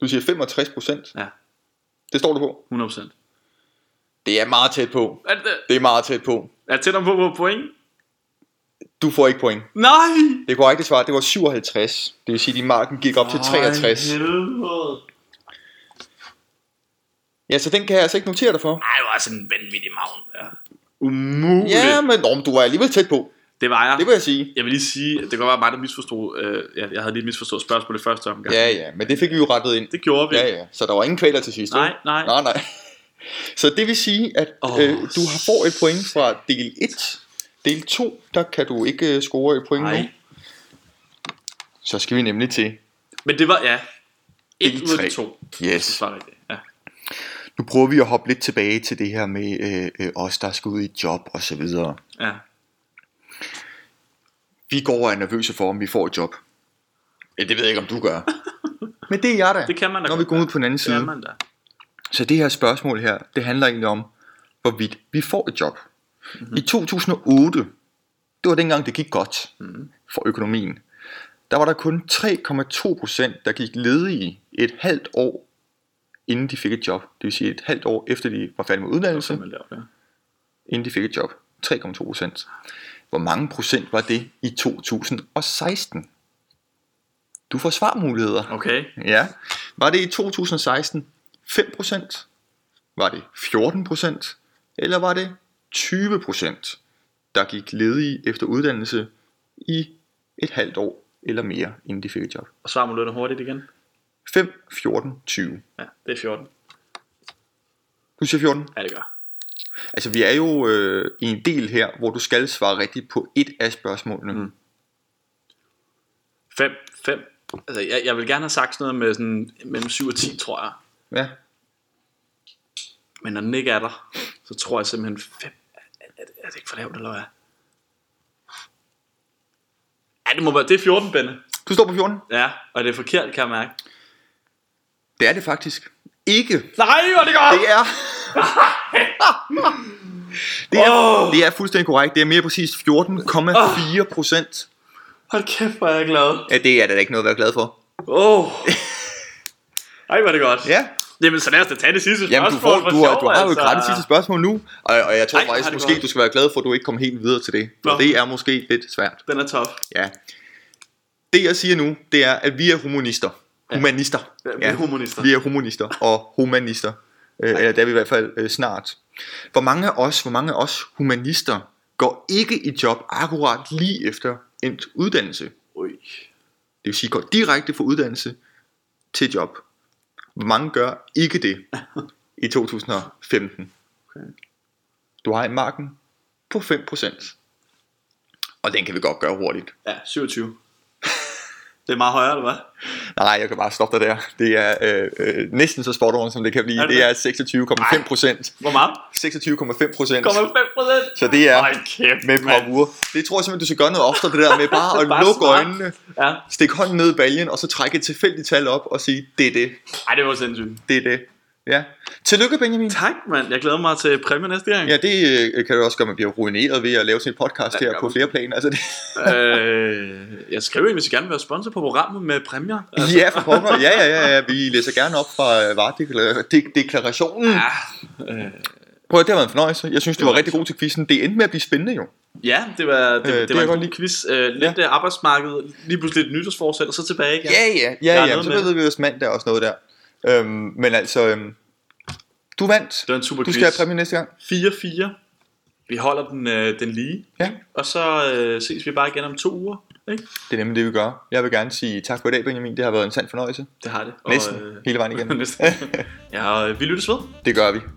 S2: Du siger 65 procent.
S1: Ja.
S2: Det står du på.
S1: 100 procent.
S2: Det er meget tæt på.
S1: Er det-
S2: Det er meget tæt på.
S1: er det tættere på på point?
S2: Du får ikke point.
S1: Nej!
S2: Det korrekte svar, det var 57. Det vil sige, at din marken gik op til 63.
S1: Ej, helvede.
S2: Ja, så den kan jeg altså ikke notere dig for.
S1: Ej, det var sådan en vanvittig maven. Ja. Umuligt.
S2: Ja, men, nå, men du var alligevel tæt på.
S1: Det var jeg.
S2: Det vil jeg sige.
S1: Jeg vil lige sige, at det kan godt være mig, der misforstod. Øh, jeg, jeg havde lige misforstået spørgsmålet i første omgang.
S2: Ja, ja, men det fik vi jo rettet ind.
S1: Det gjorde vi.
S2: Ja, ja, så der var ingen kvaler til sidst.
S1: Nej,
S2: ikke?
S1: nej.
S2: Nej, nej. Så det vil sige, at
S1: Åh,
S2: oh, øh, du har får et point fra del 1. Del 2, der kan du ikke øh, score et point
S1: Nej.
S2: nu. Så skal vi nemlig til.
S1: Men det var, ja. 1
S2: Del
S1: ud af de
S2: tre.
S1: to. Det
S2: Yes.
S1: var rigtigt, ja.
S2: Nu prøver vi at hoppe lidt tilbage til det her med øh, øh, os, der skal ud i job og så videre.
S1: ja.
S2: Vi går og er nervøse for, om vi får et job. Ja, det ved jeg ikke, om du gør. Men det er jeg da.
S1: Det kan man da
S2: Når vi
S1: godt
S2: går ud
S1: gøre.
S2: på den anden
S1: Det
S2: side.
S1: er man da.
S2: Så det her spørgsmål her, det handler egentlig om, hvorvidt vi får et job.
S1: Mhm.
S2: Mm-hmm. I 2008, det var dengang, det gik godt
S1: Mhm.
S2: mm-hmm. for økonomien, der var der kun 3,2 procent, der gik ledige et halvt år, inden de fik et job. Det vil sige et halvt år efter de var færdige med
S1: Så
S2: uddannelse,
S1: man laver det.
S2: inden de fik et job. 3,2 procent. Hvor mange procent var det i 2016? Du får svarmuligheder.
S1: Okay.
S2: Ja. Var det i 2016 5%? Var det 14%? Eller var det 20%, der gik ledige efter uddannelse i et halvt år eller mere, inden de fik et job?
S1: Og svar må lønne hurtigt igen.
S2: 5, 14, 20.
S1: Ja, det er 14.
S2: Du siger 14.
S1: Ja, det gør.
S2: Altså, vi er jo øh, i en del her, hvor du skal svare rigtigt på et af spørgsmålene.
S1: Mm. 5, 5. Altså, jeg, jeg vil gerne have sagt sådan noget med sådan, mellem 7 og 10, tror jeg.
S2: Ja.
S1: Men når den ikke er der, så tror jeg simpelthen, 5, er, er, det- er det ikke for lavt, eller hvad? Ja, det må være, det er 14, Benne.
S2: Du står på 14.
S1: Ja, og det er forkert, kan jeg mærke.
S2: Det er det faktisk. Ikke.
S1: Nej, hvor er det godt!
S2: Det er... det, er
S1: Åh.
S2: det er fuldstændig korrekt. Det er mere præcis 14,4 procent.
S1: Hold kæft, hvor er jeg glad.
S2: Ja, det er der da ikke noget at være glad for.
S1: Åh. Oh. Ej, hvor er det godt.
S2: Ja.
S1: Jamen, så lad os da tage det sidste
S2: Jamen, du,
S1: spørgsmål.
S2: får,
S1: for
S2: du, har,
S1: sjov, altså.
S2: du har jo et gratis sidste spørgsmål nu, og, og jeg tror
S1: Ej,
S2: Ej,
S1: har
S2: faktisk
S1: det
S2: måske,
S1: godt.
S2: du skal være glad for, at du ikke kom helt videre til det.
S1: Nå.
S2: Og det er måske lidt svært.
S1: Den er tof.
S2: Ja. Det jeg siger nu, det er, at vi er humanister. Humanister.
S1: Ja, vi er humanister.
S2: Vi er humanister og humanister. Øh, eller det er vi i hvert fald øh, snart. Hvor mange af os, hvor mange af os humanister går ikke i job akkurat lige efter endt uddannelse?
S1: Ui.
S2: Det vil sige, går direkte fra uddannelse til job. Hvor mange gør ikke det i 2015?
S1: Okay.
S2: Du har en marken på 5%. Og den kan vi godt gøre hurtigt.
S1: Ja, 27. det er meget højere, eller hvad?
S2: Nej, jeg kan bare stoppe dig der. Det er øh, øh, næsten så spot on, som det kan blive.
S1: Er
S2: Er
S1: det
S2: det,
S1: det?
S2: det er 26,5 procent.
S1: Hvor meget?
S2: 26,5
S1: 0,5 procent.
S2: procent. Så det er
S1: Hold kæft,
S2: med
S1: mand.
S2: bravur. Det tror jeg simpelthen, du skal gøre noget oftere, det der med bare at
S1: Bare
S2: lukke
S1: smart.
S2: øjnene,
S1: Ja.
S2: stikke hånden ned i baljen, og så trække et tilfældigt tal op og sige, det er det,
S1: Ej, det var sindssygt.
S2: det er det. Ja. Tillykke, Benjamin.
S1: Tak, mand. Jeg glæder mig til præmien næste gang.
S2: Ja, det øh, kan du også gøre, man bliver ruineret ved at lave sin podcast
S1: Ja,
S2: her
S1: det gør
S2: på
S1: man.
S2: flere planer. Altså, det,
S1: øh, jeg skriver ind, hvis I gerne vil være sponsor på programmet med præmier. Altså,
S2: ja, for pokker. Ja, ja, ja, ja, vi læser gerne op fra øh, varedeklarationen.
S1: ja. Øh,
S2: Prøv at det har været en fornøjelse. Jeg synes, du
S1: Det var
S2: var rigtig god til quizzen. Det endte med at blive spændende jo.
S1: ja, det var, det,
S2: Øh,
S1: det, var
S2: det er
S1: en
S2: godt
S1: god
S2: lige-
S1: quiz. Øh, lidt ja. arbejdsmarkedet, lige pludselig et nytårsforsæt, og så tilbage igen.
S2: Ja, ja,
S1: Der er
S2: ja, ja.
S1: noget
S2: Så
S1: med
S2: ved vi også mandag også noget der. Øhm, men altså, øhm, du vandt.
S1: Det var en super
S2: Du
S1: quiz.
S2: skal have præmie næste gang.
S1: 4-4. Vi holder den, øh, den lige.
S2: Ja.
S1: Og så øh, ses vi bare igen om to uger. Ikke?
S2: Det er nemlig det, vi gør. Jeg vil gerne sige tak for i dag, Benjamin. Det har været en sand fornøjelse.
S1: Det har det.
S2: Næsten
S1: Og, øh,
S2: hele vejen igennem.
S1: næsten. ja, og, øh, vi lyttes ved.
S2: Det gør vi.